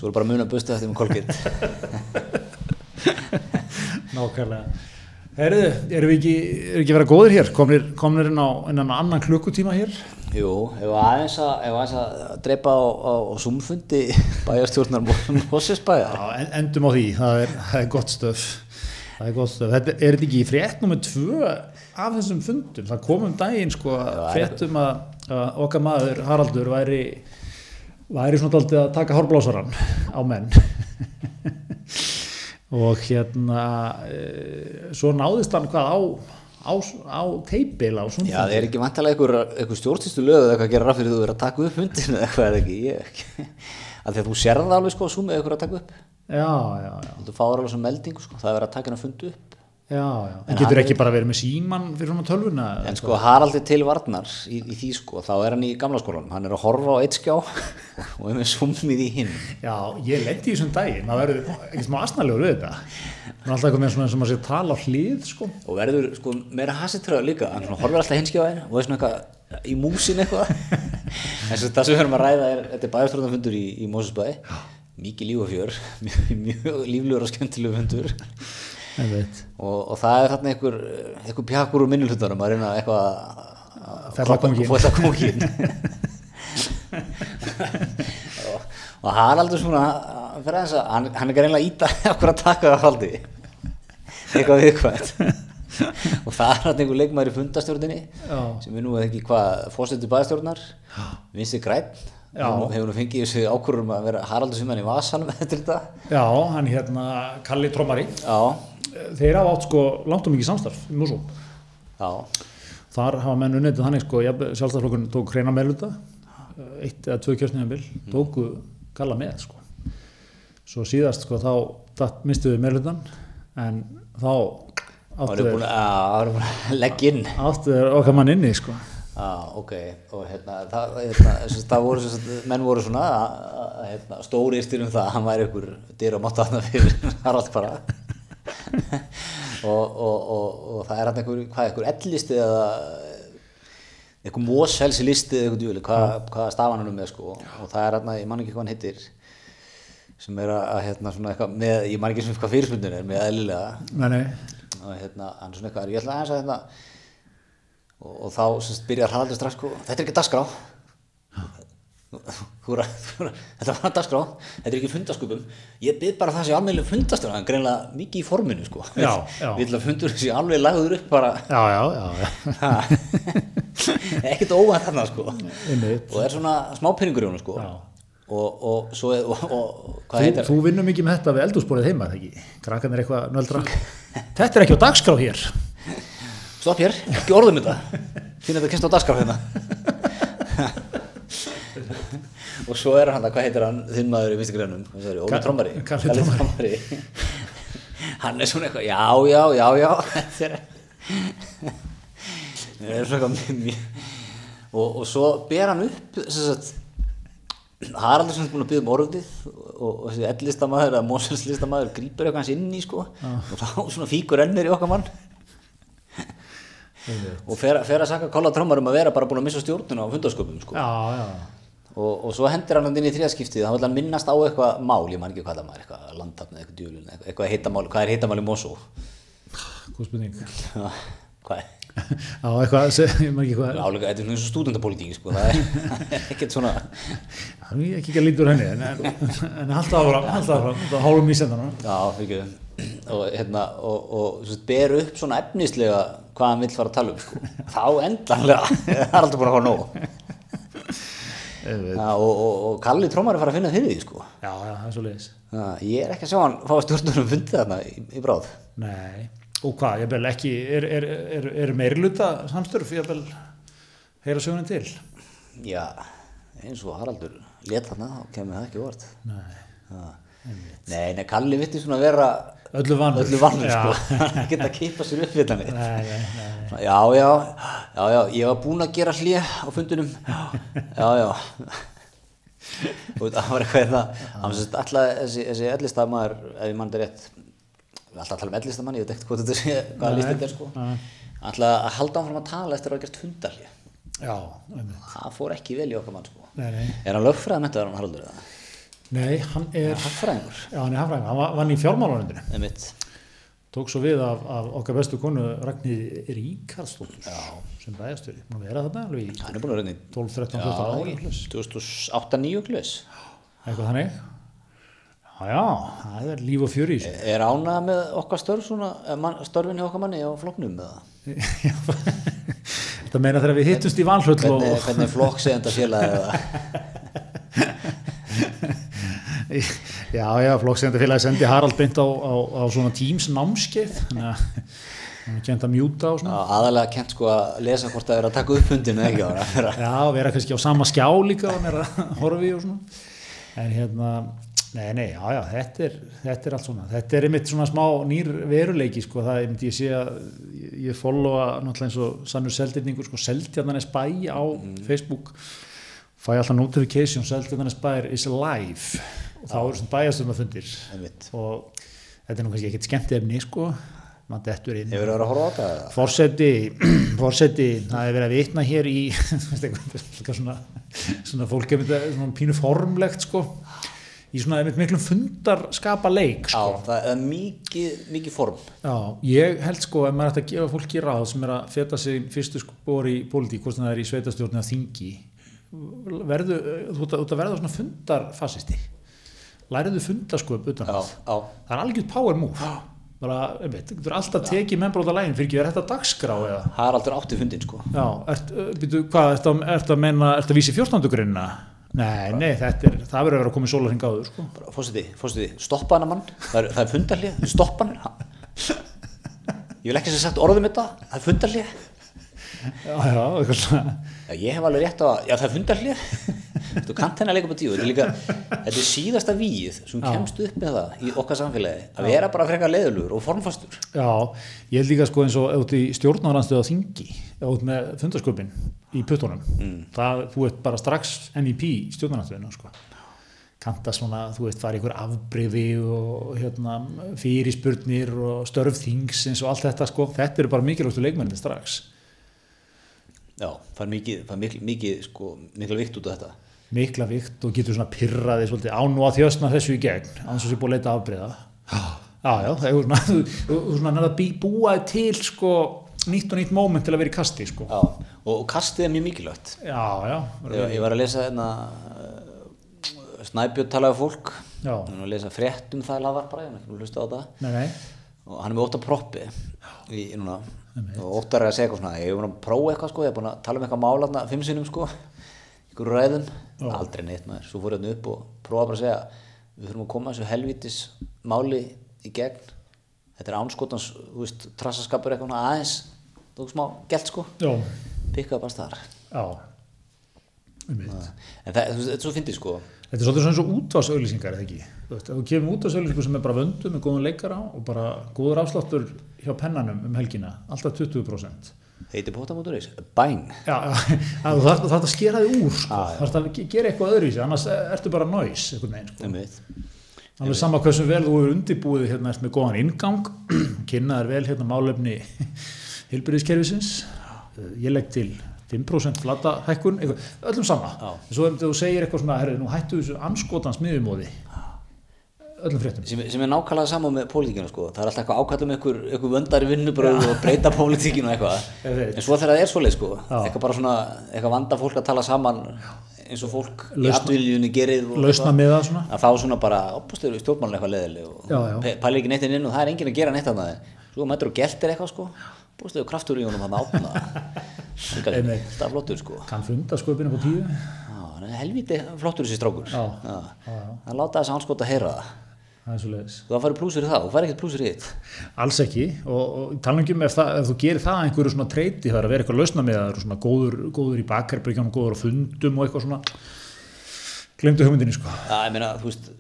svo er bara að muna að busta þetta um með Colgate nákvæmlega Heyrðu, erum við ekki, erum við ekki að vera góðir hér? Komnir, komnir inn á innan annan klukkutíma hér? Jú, ef aðeins að, ef aðeins að dreipa á, á, á Zoom-fundi bæjarstjórnar Mósesbæjar Já, en- endum á því, það er, það er gott stöf það er gott stöf, þetta er þetta ekki í frétt nummer tvö af þessum fundum það kom um daginn sko að fréttum að, að okkar maður Haraldur væri væri svona daldið að taka horfblásaran á menn og hérna eh, svo náðist hann hvað á á, á teipil á svona Já, það er ekki vantalega einhver, einhver stjórnstýstu lög eða eitthvað að gera ráð fyrir þú verið að taka upp hundin eða eitthvað er ekki, ég ekki Af því að þú sér það alveg sko á Zoom eða eitthvað að taka upp já, já, já, Þú fáður alveg sem meldingu sko, það er verið að taka hennar fundu upp já, já. en getur ekki bara verið með síman fyrir svona tölvuna En sko Haraldi til varnar í, í því sko, þá er hann í gamla skólanum, hann er að horfa á eitt skjá og er með summið í hinn. Já, ég lendi í þessum daginn, maður verður ekki smá asnalegur við þetta. Maður er alltaf komið svona eins og maður sé tala á hlið, sko. Og verður sko meira hasitröða líka, hann svona horfir alltaf hinn skjáin og er svona eitthvað í músin eitthvað. en svo það sem við höfum að ræða er, þetta er bæjarstjórnafundur í, í Mósusbæ, mikið líf og fjör, mjög, mjög líflugur og skemmtilegu fundur. En veit. Og, og það er þarna einhver, einhver pjakur úr minnulutunum að reyna eitthvað að- að Fella klobba- kónginn. fella kónginn. og, og Haraldur svona hann, fer aðeins að- hann, hann er greinlega íta okkur að taka það haldi eitthvað viðkvæmt og það er hann einhver leikmaður í fundastjórninni Já. sem er nú eða ekki hvað fórsetur bæðastjórnar Vinstri Græn Já. Nú hefur nú fengið þessu ákvörðum um að vera Haraldur sem hann í vasanum eftir þetta Já, hann hérna, Kalli Trommari, já, þeir hafa átt sko langt og mikið samstarf í Músum. já Þar hafa menn unnið þetta þannig sko, sjálfstaflokkurinn tók hreina meðluta, eitt eða tvö kjörsniðanbil, tóku Kalla með, sko. Svo síðast sko, þá mistuðu meðlutan, en þá Það eru áttu búin þeir- að, það eru búin að leggja inn. áttu þeir okkar mann inni, sko. Já, ok, og hérna, það, hérna, þess að það voru, þess að menn voru svona, að- að, hérna, stóri yrstir um það, að hann væri ykkur dyr og mátta hann fyrir Harald bara. og, og, og, og það er hann einhver, hvað, einhver ellisti eða einhver móshelsi listi eða einhver djúli, hvað, hvað stafan hann er með, sko, og það er hann, ég man ekki hvað hann hittir, sem er að, að hérna, svona eitthvað, með, ég man ekki svona hvað fyrirspundin er, með eðlilega, Nei, nei. og hérna, hann svona eitthvað, ég ætla aðeins að hérna og, og þá semst byrjar Haraldur strax sko, þetta er ekki dagskrá Þú- þú er að- þú er að- þetta var dagskrá, þetta er ekki fundaskupum ég byrð bara það sem almeinlega fundastur hann er greinlega mikið í forminu sko Já, já. við ætla að fundur þessi alveg lagður upp bara Já, já, já, já. ha. ekkert óvænt þarna sko Einmitt. og er svona smá pinningur í honum sko Já. og, og svo er- og, og hvað Þú, heitir þú vinnur mikið með þetta við eldúsborðið heima, er það ekki? Krakkan er eitthvað nöldra. þetta er ekki á dagskrá hér. stopp hér, ekki orðum þetta finna þetta kynst á dagskraf hérna og svo er hann það, hvað heitir hann þinn maður í vinstri grænum, hvað sagði, Óli Ka- Trommari Kalli Trommari hann er svona eitthvað, já, já, já, já þetta er það er svona eitthvað mjög og, og svo ber hann upp sem sagt Haraldur sem er búin að byggja um orðið og, og þessi ellistamæður eða móselslistamæður grípur eitthvað hans inn í sko og þá svona fíkur ennir í okkar mann og fer, fer að saka kolla trommar um að vera bara búin að missa stjórnuna á fundarsköpum sko. Já, já. og, og, og svo hendur hann hann inn í þriðaskiptið þá vil hann minnast á eitthvað mál, ég man ekki hvað það maður eitthvað landtapnið, eitthvað djúlun, eitthvað, eitthvað heitamál hvað er heitamál í Mosó? Góð spurning. hvað er? Á eitthvað, sem- ég maður ekki hvað, Álega, þetta er svona stúdendapólitík sko, það er ekkert svona það er ekki ekki að lítur henni, en, en, en alltaf áfram, alltaf áfram, það hálfum í sendana. Já, ekki og hérna, og, og svo sagt, ber upp svona efnislega hvað hann vill fara að tala um sko. þá endanlega, það er aldrei búin að fá nóg Já, og, og, og Kalli Trómar er fara að finna fyrir því sko. Já, já, það er svo leiðis. Já, ég er ekki að sjá hann fá stjórnunum fundið þarna í, í bráð Nei, og hvað, ég bel ekki, er, er, er, er meirluta samstörf, ég bel heyra söguna til? Já, eins og Haraldur let þarna, þá kemur það ekki vart Nei, Nei, nei, Kalli vitti svona vera öllu vannur. öllu vannur Já. sko, hann er geta að kippa sér upp við þannig Nei, nei, nei. Já, já, já, já, ég var búinn að gera hlið á fundunum, já, já, og það var eitthvað hérna. það, hann sem sagt alltaf þessi, þessi ellistamæður, ef ég mann þetta rétt, við alltaf að tala um ellistamæni, ég veit ekkert hvað þetta sé, hvaða Nei, listið þetta er sko, nei. alltaf að halda áfram að tala eftir að hafa gert hundarlið, Já, einmitt. það fór ekki vel í okkar mann sko. Nei, nei. Er hann lögfræða mentaður hann Haraldur eða? Nei, hann er, Er hagfræðingur? já, hann er hafræðing, hann var, vann í fjármálunundinu. Einmitt. Tók svo við af, af okkar bestu konu Ragnir Ríkarsdóttur sem bæðastöri. Má vera þarna alveg í Hann er búinn að reyna í 12, 13, 14 ára. Já, 2008-2009 glöðs. Eitthvað þannig. Já, já, það er líf og fjöri í þessu. Er ánað með okkar störf svona, eh, mann- störfin hjá okkar manni á flokknum með það? Þetta meina þegar við hittumst í valhöll og... Hvernig, hvernig flokksegenda félagið það? Já, já, flokksendafélagi sendi Harald beint á, á, á svona Teams námskeið þannig að hann er kent að mjúta og svona Já, Aðalega kent sko að lesa hvort það er að taka upp hundinu ekki ára fyrir að Já, vera kannski á sama skjá líka og mér að horfi og svona en hérna, nei, nei, já, já þetta er, þetta er allt svona, þetta er einmitt svona smá nýr veruleiki, sko, það er einmitt ég sé að ég, ég followa náttúrulega eins og sannur seldinningur, sko, seldjarnanes bæ á Facebook fæ alltaf notification, seldjarnanes bæ is live og þá eru svona bæjastum að fundir mitt. og þetta er nú kannski ekkert skemmt efni sko, maður dettur inn Hefur það verið að horfa á það? eða? Forseti, forseti, það er verið að vitna hér í, þú veist, eitthvað, eitthvað svona, svona fólk er myndið, svona pínu formlegt sko, í svona einmitt miklum fundarskapa leik Já, sko. það er mikið, mikið form. Já, ég held sko að maður ætti að gefa fólki ráð sem er að feta sig fyrstu spór í pólitík, hvort sem það er í sveitastjórn eða þingi, verðu, eh, þú ert að- þú ert að verða svona fundarfasisti, læriðu fundasköp utan Já, að já. það er algjörð power move bara, einmitt, þú er alltaf tekið mennbróta lægin fyrir ekki, er þetta dagskrá eða Haraldur átti fundin sko. já, ert, byrju, hvað, ertu að, ertu að menna ertu að vísi 14. grunna nei, nei, þetta er, það verður að vera komið sólarhing áður sko. Bara, Fórseti, fórseti, stoppa hana mann. Það er, það er fundarlið, stoppa hann. Ha. Ég vil ekki sem sagt orðum þetta, það er fundarlið. já, já, eitthvað svona Já, ég hef alveg rétt á að, já það er fundarhlið Þú kant hennar leika upp á tíu Þetta er líka, þetta er síðasta víð sem kemst upp með það í okkar samfélagi að vera bara frekar leiðulur og formfastur já, ég held líka sko eins og ef þú ert í stjórnarhansstöðu á þingi eða út með fundarsköpin í puttunum það, þú ert bara strax NEP í stjórnarhansstöðinu sko. kanta svona, þú veist, fara í ykkur afbrifi og hérna, fyrirspurnir og störfþingsins og allt þetta sko, þetta eru bara mikilvægstu leikmennir strax Já, það er mikið, það er mikil, mikið sko, mikil vikt út af þetta mikla vikt og getur svona pirraði svolítið á nú að þjóstna þessu í gegn án svo sé búið að leita afbreyða já, já, það er svona, þú- þú þú svona nærða bí- búaði til sko nýtt og nýtt moment til að vera í kasti sko já, Já, og, og kastið er mjög mikilvægt já, Ég, ég var að lesa hérna eh, Snæbjörn talaði fólk Já. Ég var að lesa frétt um það lafar bara, ég var ekki að hlusta á það nei, nei og hann er með óttar proppi í, í núna og óttar er að segja eitthvað svona ég er búin að prófa eitthvað sko, ég er búin að tala um eitthvað málaðna fimm sinnum sko, ykkur ræðum aldrei neitt maður, svo fór hérna upp og prófa bara að segja, við þurfum að koma þessu helvítis máli í gegn þetta er ánskotans, þú veist trassaskapur eitthvað svona aðeins þú smá gælt sko, já, pikka bara staðar já Einmitt. en það, þú veist, þetta er svo fyndið sko þetta er svolítið svona eins og útvarsauðlýsingar eða ekki þú veist, ef þú kemur útvarsauðlýsingu sem er bara vöndu með góðan leikara og bara góður afsláttur hjá pennanum um helgina, alltaf 20% heitir potamóturis, bæn Já, að þú þarf, þarf að skera þig úr sko. þarf að ge- gera eitthvað öðru í sig annars e- ertu bara næs einhvern veginn sko. einmitt, alveg sama hversu vel þú er undirbúið hérna ert með góðan inngang kynnaðar vel hérna málefni hilbriðiskerfisins ég legg til 5% flata hækkun, eitthvað, öllum sama Já. en svo ef þú segir eitthvað svona, herrið, nú hættu þessu anskotans miðumóði öllum fréttum sem, sem er nákvæmlega sama með pólitíkina sko. það er alltaf eitthvað ákall um einhver, einhver vöndari vinnubröð og breyta pólitíkinu og Ég eitthvað veit. en svo þegar það er svoleið sko. Já. eitthvað bara svona, eitthvað vanda fólk að tala saman eins og fólk í Lausna- atvinnljunni gerir og lausna eitthvað. með það svona að þá svona bara, opast eru stjórnmálun eitthvað leðileg Já, já. og pe- pælir ekki neitt inn og það er enginn að gera neitt annað svo mætur og geltir eitthvað sko búist þau kraftur í honum hann átna það er Einmitt. alltaf flottur sko kann funda sköpina upp á tíu Já, hann er helviti flottur þessi strákur Já. Já, já. hann láta þess að hann skota heyra það það er svo leiðis þú að fara plúsur í það og fara ekkert plúsur í þitt Alls ekki og, og talangum ef, það- ef þú gerir það að einhverju svona treyti það er að vera eitthvað lausna með það eru svona góður, góður í bakarbyggjum, góður á fundum og eitthvað svona glemdu hugmyndinni sko Já, ég meina, þú veist,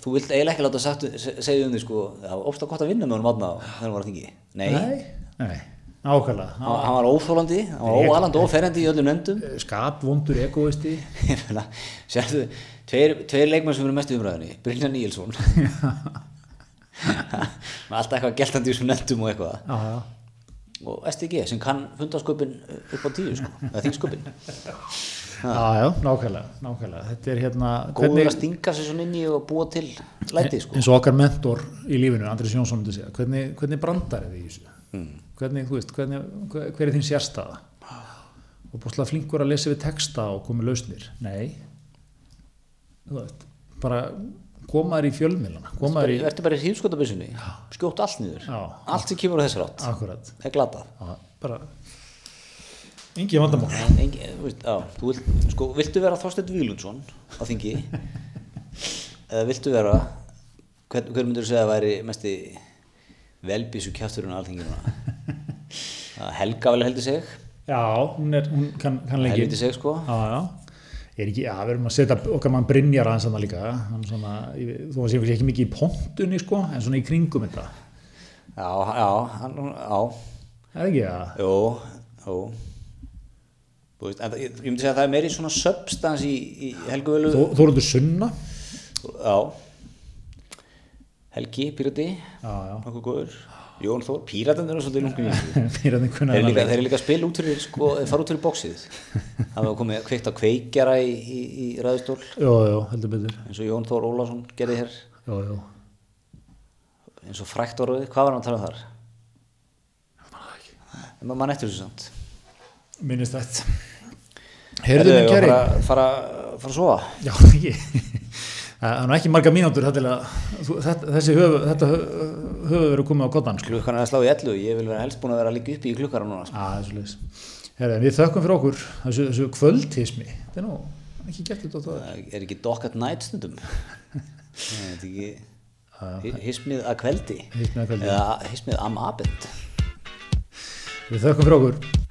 þú vilt eiginlega ekki láta sagt, se- segja um því, sko, það var ofta gott að vinna með honum átna þegar hann var að þingi. Nei, Nei, nei, ákvæmlega Hann, hann var óþólandi, hann var óalandi, óferjandi í öllum nefndum. skapvondur egoisti Ég meina, sérðu, tveir, tveir leikmenn sem eru mest í umræðinni, Brynjar Níelsson. Með alltaf eitthvað geltandi í þessum nefndum og eitthvað. Já, já, Og STG sem kann fundarsköpin upp á tíu, sko, eða þingsköpin. já, já, nákvæmlega, nákvæmlega þetta er hérna Góður að stinga sér svona inn í og búa til læti, sko. eins og okkar mentor í lífinu, Andrés Jónsson myndi segja, hvernig, hvernig brandar er því í þessu hvernig, þú veist, hvernig, hver, hver er þín sérstaða og bústlega flinkur að lesa við texta og koma með lausnir nei þú veist, bara koma þér í fjölmilana koma þér í, Verður bara í hýrskotabissunni, skjótt allt niður, Já. allt sem kemur á þessar átt. akkurat Það er glatað. já, bara engin vandamál En engi, þú veist, á, þú vilt, sko, viltu vera Þorsteinn Vílundsson á þingi eða viltu vera hver, hver myndur þú segja að væri mesti velbísu kjátturinn á alþinginu Helga vel heldur seg já, hún, er, hún kann, kann lengi heldur seg sko Já, já. Er ekki, já, við erum að setja okkar mann Brynjar aðeins hann líka, hann svona, ég- þó að sé kannski ekki mikið í pontunni sko, en svona í kringum þetta. já, já, hann, já Er það ekki það? jú, jú Þú veist, en það- ég, ég myndi segja að það er meiri svona substans í, í Helgu velu Þó eru þú sunna? já Helgi, Pírati Já, já. nokkuð góður Jón Þór, Píratendur er svolítið lungun í þessu Fyrir að einhvern Þeir eru annan líka, leik. þeir eru líka að spila út fyrir, sko, þeir fara út fyrir bóksið. Það var komið kveikt á kveikjara í, í, í ræðustól, Jó, jó, heldur betur. eins og Jón Þór Ólafsson gerði hér, Jó, jó. eins og frækt orðið. Hvað var hann að tala um þar? En maður mann eftir þessu samt. Minnist þetta. Herðu, Herðu minn kæri. Fara, fara, fara að sofa. Já, ekki. Það er nú ekki marga mínútur þetta, til að- þú- þetta- þessi höfu, þetta höfu verið komið á kottan sko. Klukkan er að slá í ellu, ég vil vera helst búin að vera líka uppi í klukkara núna. sko. Já, það er svo leis. Herðu, en við þökkum fyrir okkur þessu, þessu kvöldhismi. Þetta er nú ekki gert þetta á það. Það er ekki dokkat nætt stundum. Það er ekki hismið Ah. að kveldi. Hismið að kveldi. Eða hismið am abend. Við þökkum fyrir okkur.